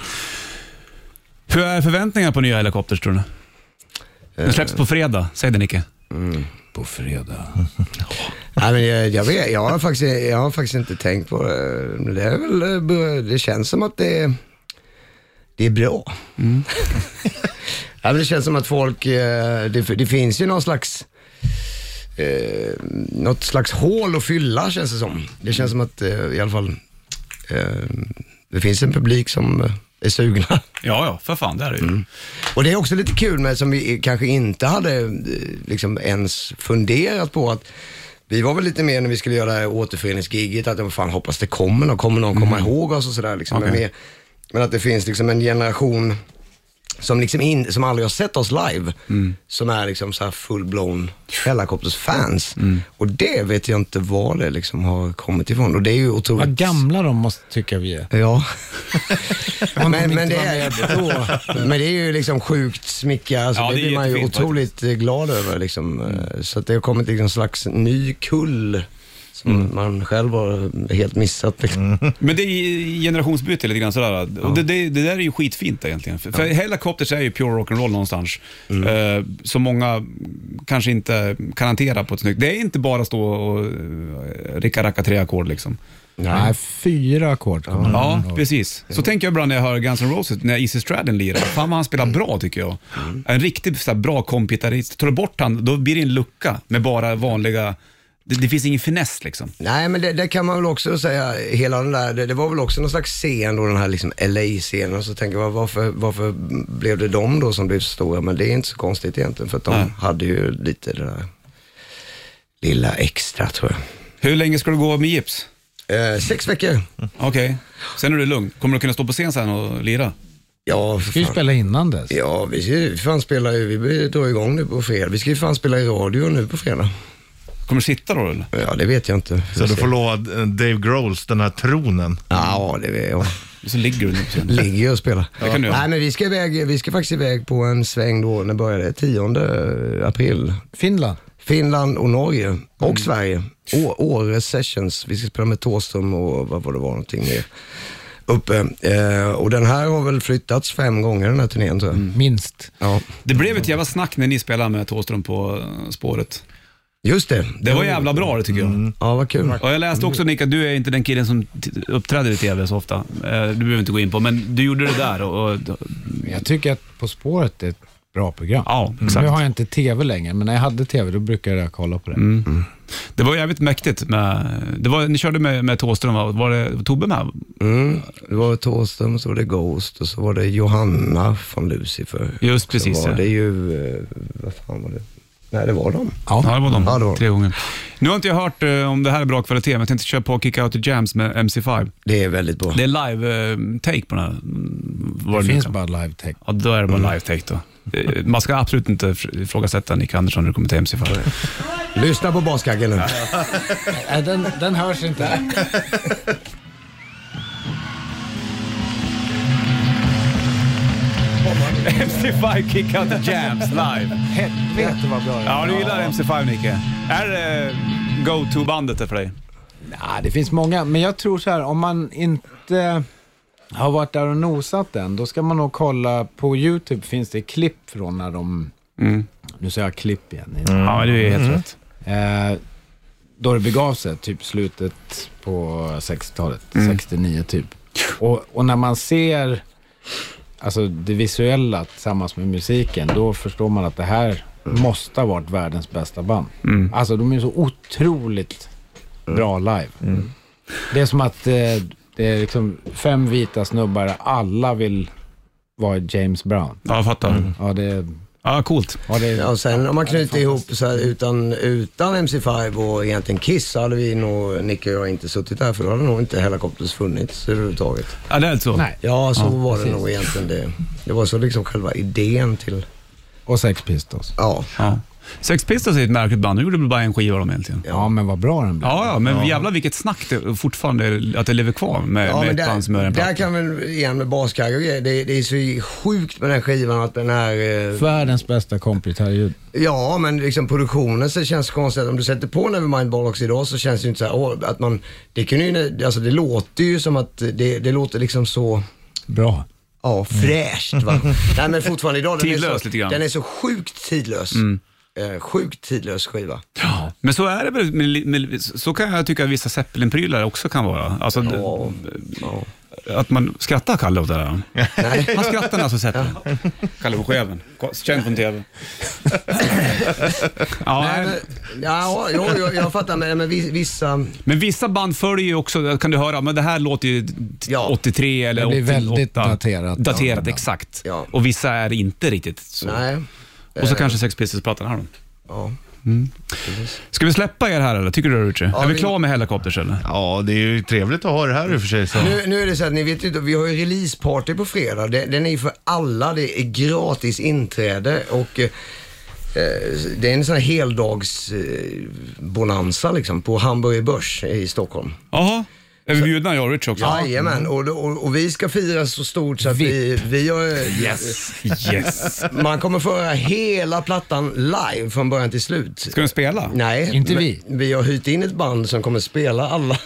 Hur är förväntningarna på nya helikopters tror du? Den släpps på fredag, säg det Nicke. På fredag. Nej, men jag, jag, vet, jag, har faktiskt, jag har faktiskt inte tänkt på det. Men Det, är väl, eh, bör- det känns som att det, det är bra. [LAUGHS] Nej, men det känns som att folk, eh, det, det finns ju någon slags, eh, något slags hål att fylla känns det som. Det känns som att eh, i alla fall, eh, det finns en publik som eh, är sugna. Ja, ja, för fan, det är det ju. Och det är också lite kul med, som vi kanske inte hade eh, liksom ens funderat på att vi var väl lite mer när vi skulle göra det här återföreningsgiget, att vad fan hoppas det kommer någon, kommer någon komma ihåg oss och sådär liksom. Men, Mm. Okej. mer- men att det finns liksom en generation som, liksom in, som aldrig har sett oss live, som är liksom så här full-blown Hellacopters-fans. Och det vet jag inte var det liksom har kommit ifrån. Och det är ju otroligt... Vad gamla de måste tycka vi [LAUGHS] är. Ja. Om de men, inte men, det var är, men [LAUGHS] det är ju liksom sjukt smicka. Alltså, Ja, det, det är blir man ju jättefint Mm. otroligt eh, glad över. Liksom. Så att det har kommit liksom en slags ny kull som Mm. man själv har helt missat. Liksom. Men det är ju generationsbyte lite grann sådär. Och det, det, det där är ju skitfint egentligen. För, för Hellacopters är ju pure rock'n'roll någonstans. Eh, som många kanske inte kan hantera på ett snyggt... Det är inte bara att stå och eh, ricka racka tre ackord liksom. Nej, fyra ackord. kommer det. Mm. Ja, precis. Så tänker jag ibland när jag hör Guns N' Roses, när Easy Stradlin lirar. Fan vad han spelar bra tycker jag. En riktigt så här, bra kompgitarrist. Tar du bort han, då blir det en lucka med bara vanliga... Det, det finns ingen finess liksom. Nej, men det, det kan man väl också säga, hela den där, det, det var väl också någon slags scen då, den här liksom LA-scenen, och så tänker jag varför, varför blev det de då som blev så stora? Men det är inte så konstigt egentligen, för att de hade ju lite det där lilla extra tror jag. Hur länge ska du gå med gips? Eh, sex veckor. Okej, sen är du lugn. Kommer du kunna stå på scen sen och lira? Ja, för fan. Spela innan dess. Ja, vi ska ju fan spela, vi drar igång nu på fredag. Vi ska ju fan spela i radio nu på fredag. Kommer du sitta då eller? Ja, det vet jag inte. Så du får lova eh, Dave Grohls, den här tronen. Ja, det vet jag. Och så ligger du nu på scenen. Ligger ju och spelar. Det kan du göra. Nej, men vi ska, iväg, vi ska faktiskt iväg på en sväng då, när börjar det? 10 april. Finland. Finland och Norge och Sverige. Å- Åre Sessions. Vi ska spela med Thåström och vad var det var någonting mer. Uppe. Eh, och den här har väl flyttats fem gånger den här turnén tror jag. Mm. Minst. Ja, Det blev ett jävla snack när ni spelade med Thåström på eh, spåret. just det. Det var jävla bra det tycker jag. Ja, vad kul. Och jag läste också Nick, att du är inte den killen som t- uppträder i tv så ofta. Eh, Du behöver inte gå in på, men du gjorde det där. Och, och, Jag tycker att På spåret är ett bra program. Mm. ja, Nu exakt. har jag inte tv längre, men när jag hade tv då brukade jag kolla på det. Mm. Det var jävligt mäktigt. Med, det var, ni körde med, med Thåström, va? var det var Tobbe med? Mm. Det var Thåström, så var det Ghost och så var det Johanna från Lucifer. Just Så precis, var ja. det ju, eh, vad fan var det? Nej, det var de. Ja, det var de. Ja, det var de. Tre gånger. Nu har inte jag hört eh, om det här är bra kvalitet, men jag tänkte köra på Kick Out the Jams med MC5. Det är väldigt bra. Det är live-take på den här. mm, vad Det nu finns kan- bara live tech. Ja, då är det bara live-take då. Eh, Man ska absolut inte fr- ifrågasätta Nick Andersson när det kommer till MC5. [LAUGHS] Lyssna på [LAUGHS] baskaggen nu. Nej, Äh, Den, den hörs inte. [LAUGHS] MC5 Kick Out the Jams live. Helvete vad bra Ja, du gillar MC5 Nicke. Är det eh, go-to-bandet det för dig? Ja, det finns många, men jag tror så här, om man inte har varit där och nosat än, då ska man nog kolla på YouTube, finns det klipp från när de... Mm. Nu säger jag klipp igen. Ja, det är helt rätt. Eh, då det begav sig, typ slutet på 60-talet, 69 typ. Och, och när man ser alltså, det visuella tillsammans med musiken, då förstår man att det här måste ha varit världens bästa band. Alltså de är så otroligt bra live. Det är som att eh, det är liksom fem vita snubbar, alla vill vara James Brown. Ja, jag fattar. Ja, det, Ja, coolt. ja, det, Ja, och sen om man knyter ihop så här utan, utan MC5 och egentligen Kiss så hade vi nog, Nicke och jag, inte suttit där för då hade nog inte Hellacopters funnits överhuvudtaget. Ja, det är så. Nej. Ja, så var det precis. nog egentligen det. Det var så liksom själva idén till, Och Sex Pistols. ja. Ja. Sex Pistols är ett märkligt band. Nu gjorde väl bara en skiva de egentligen. Ja, men vad bra den blev. Ja, ja, men jävlar vilket snack det fortfarande att det lever kvar med, Ja, med men ett band som gör där, en där platta. kan väl, igen med baskagge och grejer, det, det är så sjukt med den här skivan att den här... eh, Världens bästa kompitarljud. Ja, men liksom produktionen så känns det konstigt. Om du sätter på Nevermind Bollocks idag så känns det ju inte så här, åh, att man, det kunde ju, alltså det låter ju som att, det, det låter liksom så, Bra. ja fräscht va. Nej men fortfarande idag, den, är, Tidlös så, lite grann. Mm. den är så sjukt tidlös. Eh, sjukt tidlös skiva. Men så är det väl, med, med, så kan jag tycka att vissa Zeppelin-prylar också kan vara. Alltså, Ja, ja. Att man skrattar Kalle åt det där. Man skrattar när han Zeppelin. Kalle på skeven, känd från TV. ja, Nej, men, ja, jo, jag, jag fattar, men, men vi- vissa, Men vissa band följer ju också, kan du höra, men det här låter ju t- Ja. 83 eller Det blir 88. väldigt daterat. Daterat, Ja. exakt. Ja. Och vissa är inte riktigt så. nej. eh. Och så kanske Sex Pistols-plattan har de. Ja. Ska vi släppa er här eller? Tycker du det Richie? är vi vi- klara med Helicopters eller? Ja, det är ju trevligt att ha det här i och för sig. Så. Nu, nu är det så att ni vet ju inte, vi har ju releaseparty på fredag. Den, den är ju för alla, det är gratis inträde och eh, eh, det är en sån här heldagsbonanza liksom på Hamburger Börs i Stockholm. Jaha. Är vi bjudna jag och Richie också? Jajamän, och, då- och, och vi ska fira så stort så att vi, vi har, Yes, yes. man kommer få höra hela plattan live från början till slut. Ska de spela? Nej, [LAUGHS] Inte men vi. Vi har hyrt in ett band som kommer spela alla.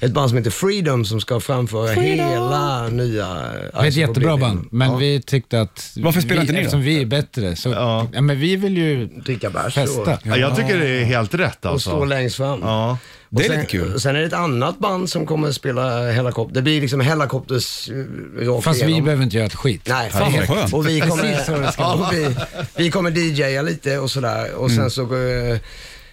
Ett band som heter Freedom som ska framföra hela nya... Det är ett jättebra band, men alltså, ja, vi tyckte att... Varför spelar vi, inte ni då? Eftersom vi är bättre. Så, ja. Ja. men vi vill ju Dricka bärs och, festa. Ja, jag tycker det är helt rätt och stå alltså. längst fram. Ja. Det är Och sen, lite kul. och Sen är det ett annat band som kommer att spela Hellacopter. Det blir liksom Hellacopters eh, rakt Fast vi igenom. behöver inte göra ett skit. Nej, Fan, vad skönt. Och vi Precis så det kommer, ska vara. ja, vi, vi kommer DJa lite och sådär. Och sen så eh,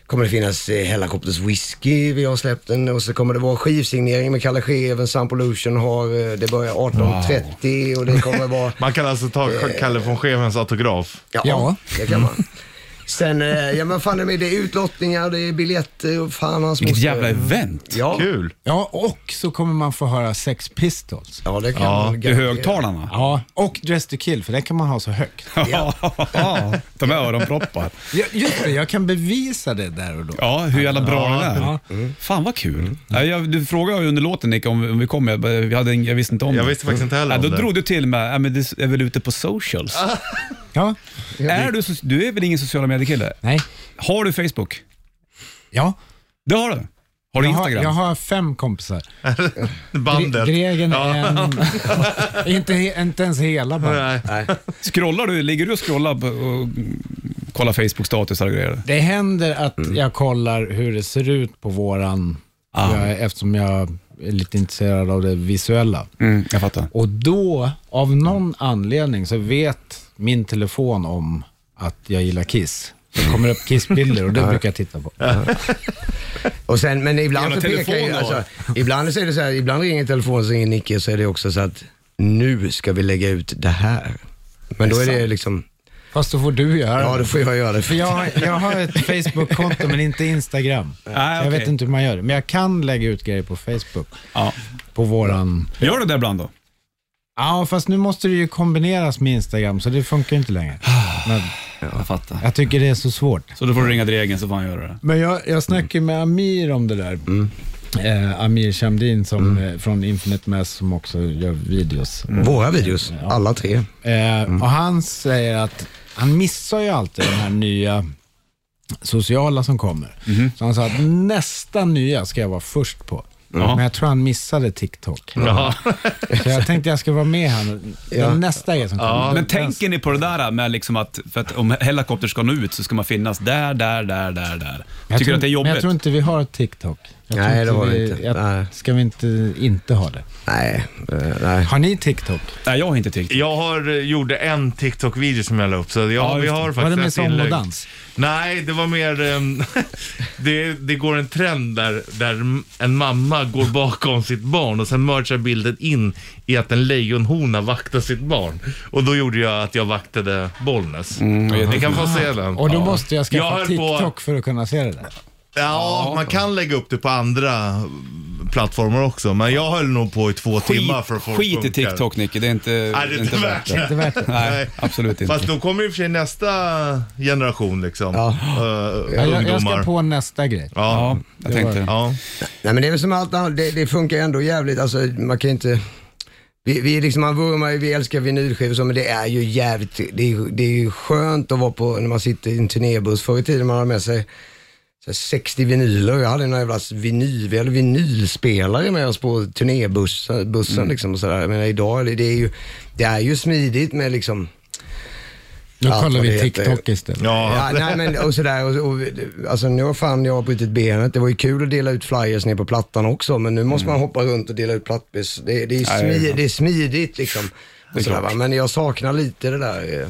kommer det finnas eh, Hellacopters whisky, vi har släppt den. Och så kommer det vara skivsignering med Kalle Scheven, Sampolution har, eh, det börjar 18.30 och det kommer vara... Man kan alltså ta Eh. Kalle von Schewens autograf. Ja, det kan man. Sen, eh, ja men fan det är det är utlottningar, det är biljetter och fan hans Vilket moster. jävla event. Ja. Kul. Ja, och så kommer man få höra Sex Pistols. Ja, det kan Ja, man i garantera. högtalarna. Ja, och Dress to kill, för det kan man ha så högt. Ja. [LAUGHS] Ja, ta med öronproppar. Ja, just det, jag kan bevisa det där och då. Ja, hur jävla bra Ja. den är. Ja. Fan vad kul. Nej, jag, du frågade ju under låten Nick om, om vi kommer. Jag, jag, hade, ingen- jag visste inte om Jag det. visste faktiskt inte heller ja, om Då det. Ah. drog du till med, ja, men det är väl ute på socials. ja. Är du, so- du är väl ingen sociala medier-kille? Nej. Har du Facebook? Ja. Det har du? Har du jag Instagram? Har, jag har fem kompisar. Bandet. Gre- Gregen Ja. är [LAUGHS] en, inte, he- inte ens hela bandet. Nej. Scrollar du, ligger du och scrollar på, och mm, kollar Facebook-statusar och grejer? Det händer att jag kollar hur det ser ut på våran, Ah. jag, eftersom jag är lite intresserad av det visuella. Mm, jag fattar. Och då, av någon anledning, så vet min telefon om att jag gillar Kiss. Det kommer upp Kiss-bilder och det brukar jag titta på. Och sen, men ibland så Jävla pekar telefon jag, då. alltså, ibland så är det så här, ibland ringer telefonen så ringer Nicke så är det också så att nu ska vi lägga ut det här. Men då är det liksom, Fast då får du göra ja det. då får jag göra det. För jag, har- jag har ett Facebook-konto men inte Instagram. Nej, Så Jag Ah, okej. vet inte hur man gör det, men jag kan lägga ut grejer på Facebook. Ja. På våran... Gör du det ibland då? Ja, fast nu måste det ju kombineras med Instagram, så det funkar ju [SIGHS] inte längre. Men Jag fattar. jag tycker det är så svårt. Så då får du ringa Dregen så får han göra det. Men jag, jag snackade ju med Amir om det där. Mm. Eh, Amir Shamdin som, eh, från Infinite Mass som också gör videos. Våra videos, alla tre. Eh, Mm. Och han säger att han missar ju alltid de här nya sociala som kommer. Mm-hmm. Så han sa att nästa nya ska jag vara först på. Men jag tror han missade TikTok. [LAUGHS] Så jag tänkte jag ska vara med här. nu. Den nästa är som kommer. Men tänker ni på det där med liksom att, för att om helikopter ska nå ut så ska man finnas där, där, där, där, där. Jag Tycker tror- du att det är Men jag jobbigt? tror inte vi har TikTok. Jag tror Nej, det har vi inte. Nej. Jag, ska vi inte inte ha det? Nej, eh, nej. Har ni TikTok? Nej, jag har inte TikTok. Jag har, eh, gjorde en TikTok-video som jag la upp, så jag, vi just det. har faktiskt Var det med ett sång och inlägg. dans? Nej, det var mer... ehm, [LAUGHS] det, det går en trend där, där en mamma går bakom sitt barn och sen merchar bilden in i att en lejonhona vaktar sitt barn. Och då gjorde jag att jag vaktade Bollnäs. Mm, Ni kan få se den. Och då måste jag Jag skaffa höll på- TikTok för att kunna se det där. Ja, man kan lägga upp det på andra plattformar också, men jag höll nog på i två timmar för att få det skit i funkar. TikTok Nicky, det är inte, Nej, det är inte värt det. Inte värt det. Nej, Nej. absolut inte. Fast då kommer i och för sig nästa generation liksom. Ja. Eh, Ja, Jag, jag ungdomar. ska på nästa grej. Ja, Ja. jag tänkte det. ja. nej men det är väl som allt annat, det, det funkar ändå jävligt, alltså man kan ju inte vi, vi, är liksom, man vurmar ju, vi älskar vinylskivor och så, men det är ju jävligt, det är, ju- det är ju skönt att vara på, när man sitter i en turnébuss. Förr i tiden man hade med sig så här 60 vinyler. Jag hade en jävla vinyl, vi hade vinylspelare med oss på turnébussen bussen Mm. liksom och sådär. Men idag, är det, det, är ju, det är ju smidigt med liksom Nu Ja, kollar vad vi det heter. TikTok istället. Ja. Ja, nej, men, och sådär, och, och, alltså, nu har fan jag brutit benet. Det var ju kul att dela ut flyers ner på plattan också, men nu måste man hoppa runt och dela ut plattbis. Det, det, Nej, är, det är smi, sant. det är smidigt liksom. Det är Och sådär, klart. va. Men jag saknar lite det där eh,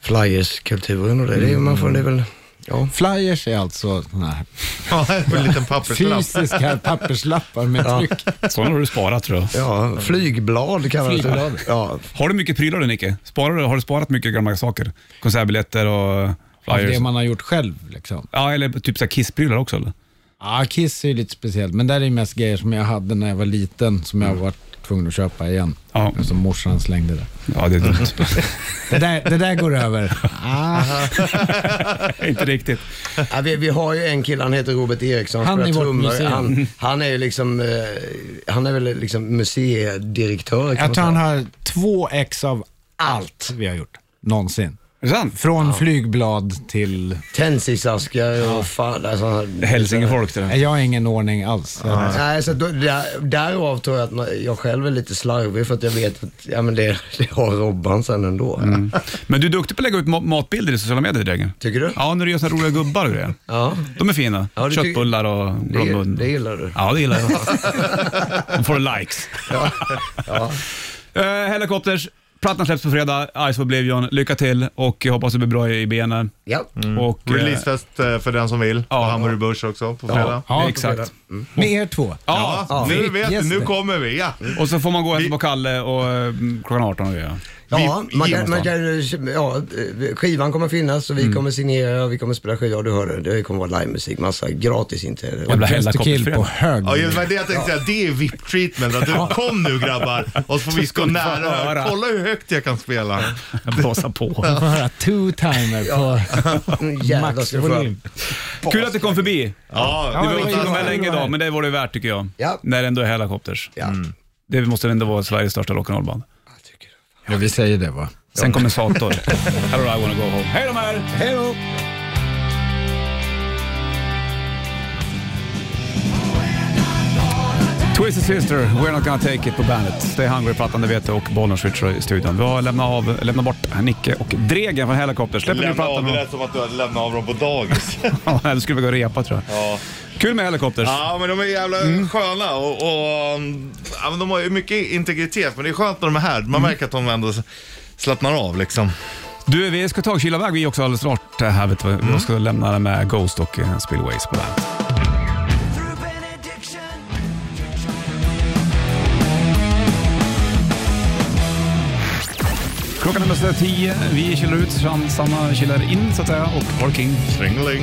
flyerskulturen och det. det är- man får, det är väl, ja. Flyers är alltså såna här [LAUGHS] Ja, en liten papperslapp. [LAUGHS] fysiska papperslappar med tryck. Sådana har du sparat tror jag. Ja, flygblad kallas Flygblad. det. Ja, Har du mycket prylar du Nicke? Sparar du, har du sparat mycket gamla saker? Konsertbiljetter och Alltså, Av det flyers? man har gjort själv. Liksom. Ja, eller typ så här kissprylar också eller? Ja, Kiss är ju lite speciellt, men där är ju mest grejer som jag hade när jag var liten som jag har varit tvungen att köpa igen. Mm. Ja. Som morsan slängde där. Ja, det är dumt. [LAUGHS] Det där, det där går över. [LAUGHS] Ah, inte riktigt. Ja, vi, vi har ju en kille, han heter Robert Eriksson, Han spelar är vårt trummor. museum. han, han är ju liksom, eh, han är väl liksom museidirektör kan jag tror man säga. han har två ex av allt vi har gjort. Någonsin. Från flygblad till... Tändsticksaskar och fan. Alltså, Hälsingefolk det Jag har ingen ordning alls. Jag- Nej, så då, där, därav tror jag att man- jag själv är lite slarvig för att jag vet att ja, men det, det har Robban sen ändå. Mm. Men du är duktig på att lägga ut ma- matbilder i sociala medier, Dregen. Tycker du? Ja, när du gör såna roliga gubbar och grejer. Ja. De är fina. Ja, det tycker- Köttbullar och Det, blommun. det gillar du. Ja, det [LAUGHS] gillar jag. De får likes. [LAUGHS] Eh, Helikopters, plattan släpps på fredag. Ice of Oblivion. Lycka till och jag hoppas det blir bra i benen. Ja. Och, eh, Releasefest eh, Mm. för den som vill. Ja. Och Hamburger Börs också på fredag. Ja, exakt. Med er två. Ja, Nu vet du, Yes. nu kommer vi. Ja. och så får man gå hem på Kalle och, eh, klockan 18 och grejer. Ja, Vi- man vi- kan, man kan, ja, skivan kommer finnas och vi kommer signera och vi kommer spela skivor. Ja, du hör det. Det kommer vara livemusik, massa gratisinträde. Jävla Best of kill på helikopterfredag. hög. Ja, det var det jag tänkte säga. Det är VIP-treatment. Att du kom nu grabbar och så får vi stå skulle få nära. höra. här. Kolla hur högt jag kan spela. Blåsa på. Man får höra two-timer på Mm, Jävlar ska du få höra. maxvolym. Kul att du kom förbi. Ja, Du det behöver var inte ju vara med bra. länge idag, men det var det värt tycker jag. Ja. När det ändå är Helicopters. Ja, Mm. Det måste ändå vara Sveriges största rock'n'rollband. jag tycker det. Ja, vi säger det va. Sen [LAUGHS] kommer Sator. Hello I wanna go home. Hej då med er! Hej då! Twisted Sister, We're Not Gonna Take It på bandet. Stay Hungry-plattan, det vet du, och Bollnäs Richard i studion. Vi har lämnat, av, lämnat bort Nicke och Dregen från Helicopter. Släpper nu Lämna av, plattan. det lät som att du hade lämnat av dem på dagis. Ja, Eller skulle vi gå och repa tror jag. Ja. Kul med Helicopters. Ja, men de är jävla sköna och, och um, ja, men de har ju mycket integritet. Men det är skönt när de är här. Man märker att de ändå slappnar av liksom. Du, vi ska ta och kila iväg vi också alldeles snart. Här, vet du. Vi Mm. ska lämna det med Ghost och eh, Spillways på bandet. Through benediction. Klockan är nästan tio. Vi kilar ut, sam- samma kilar in så att säga och Paul King. Stringeling.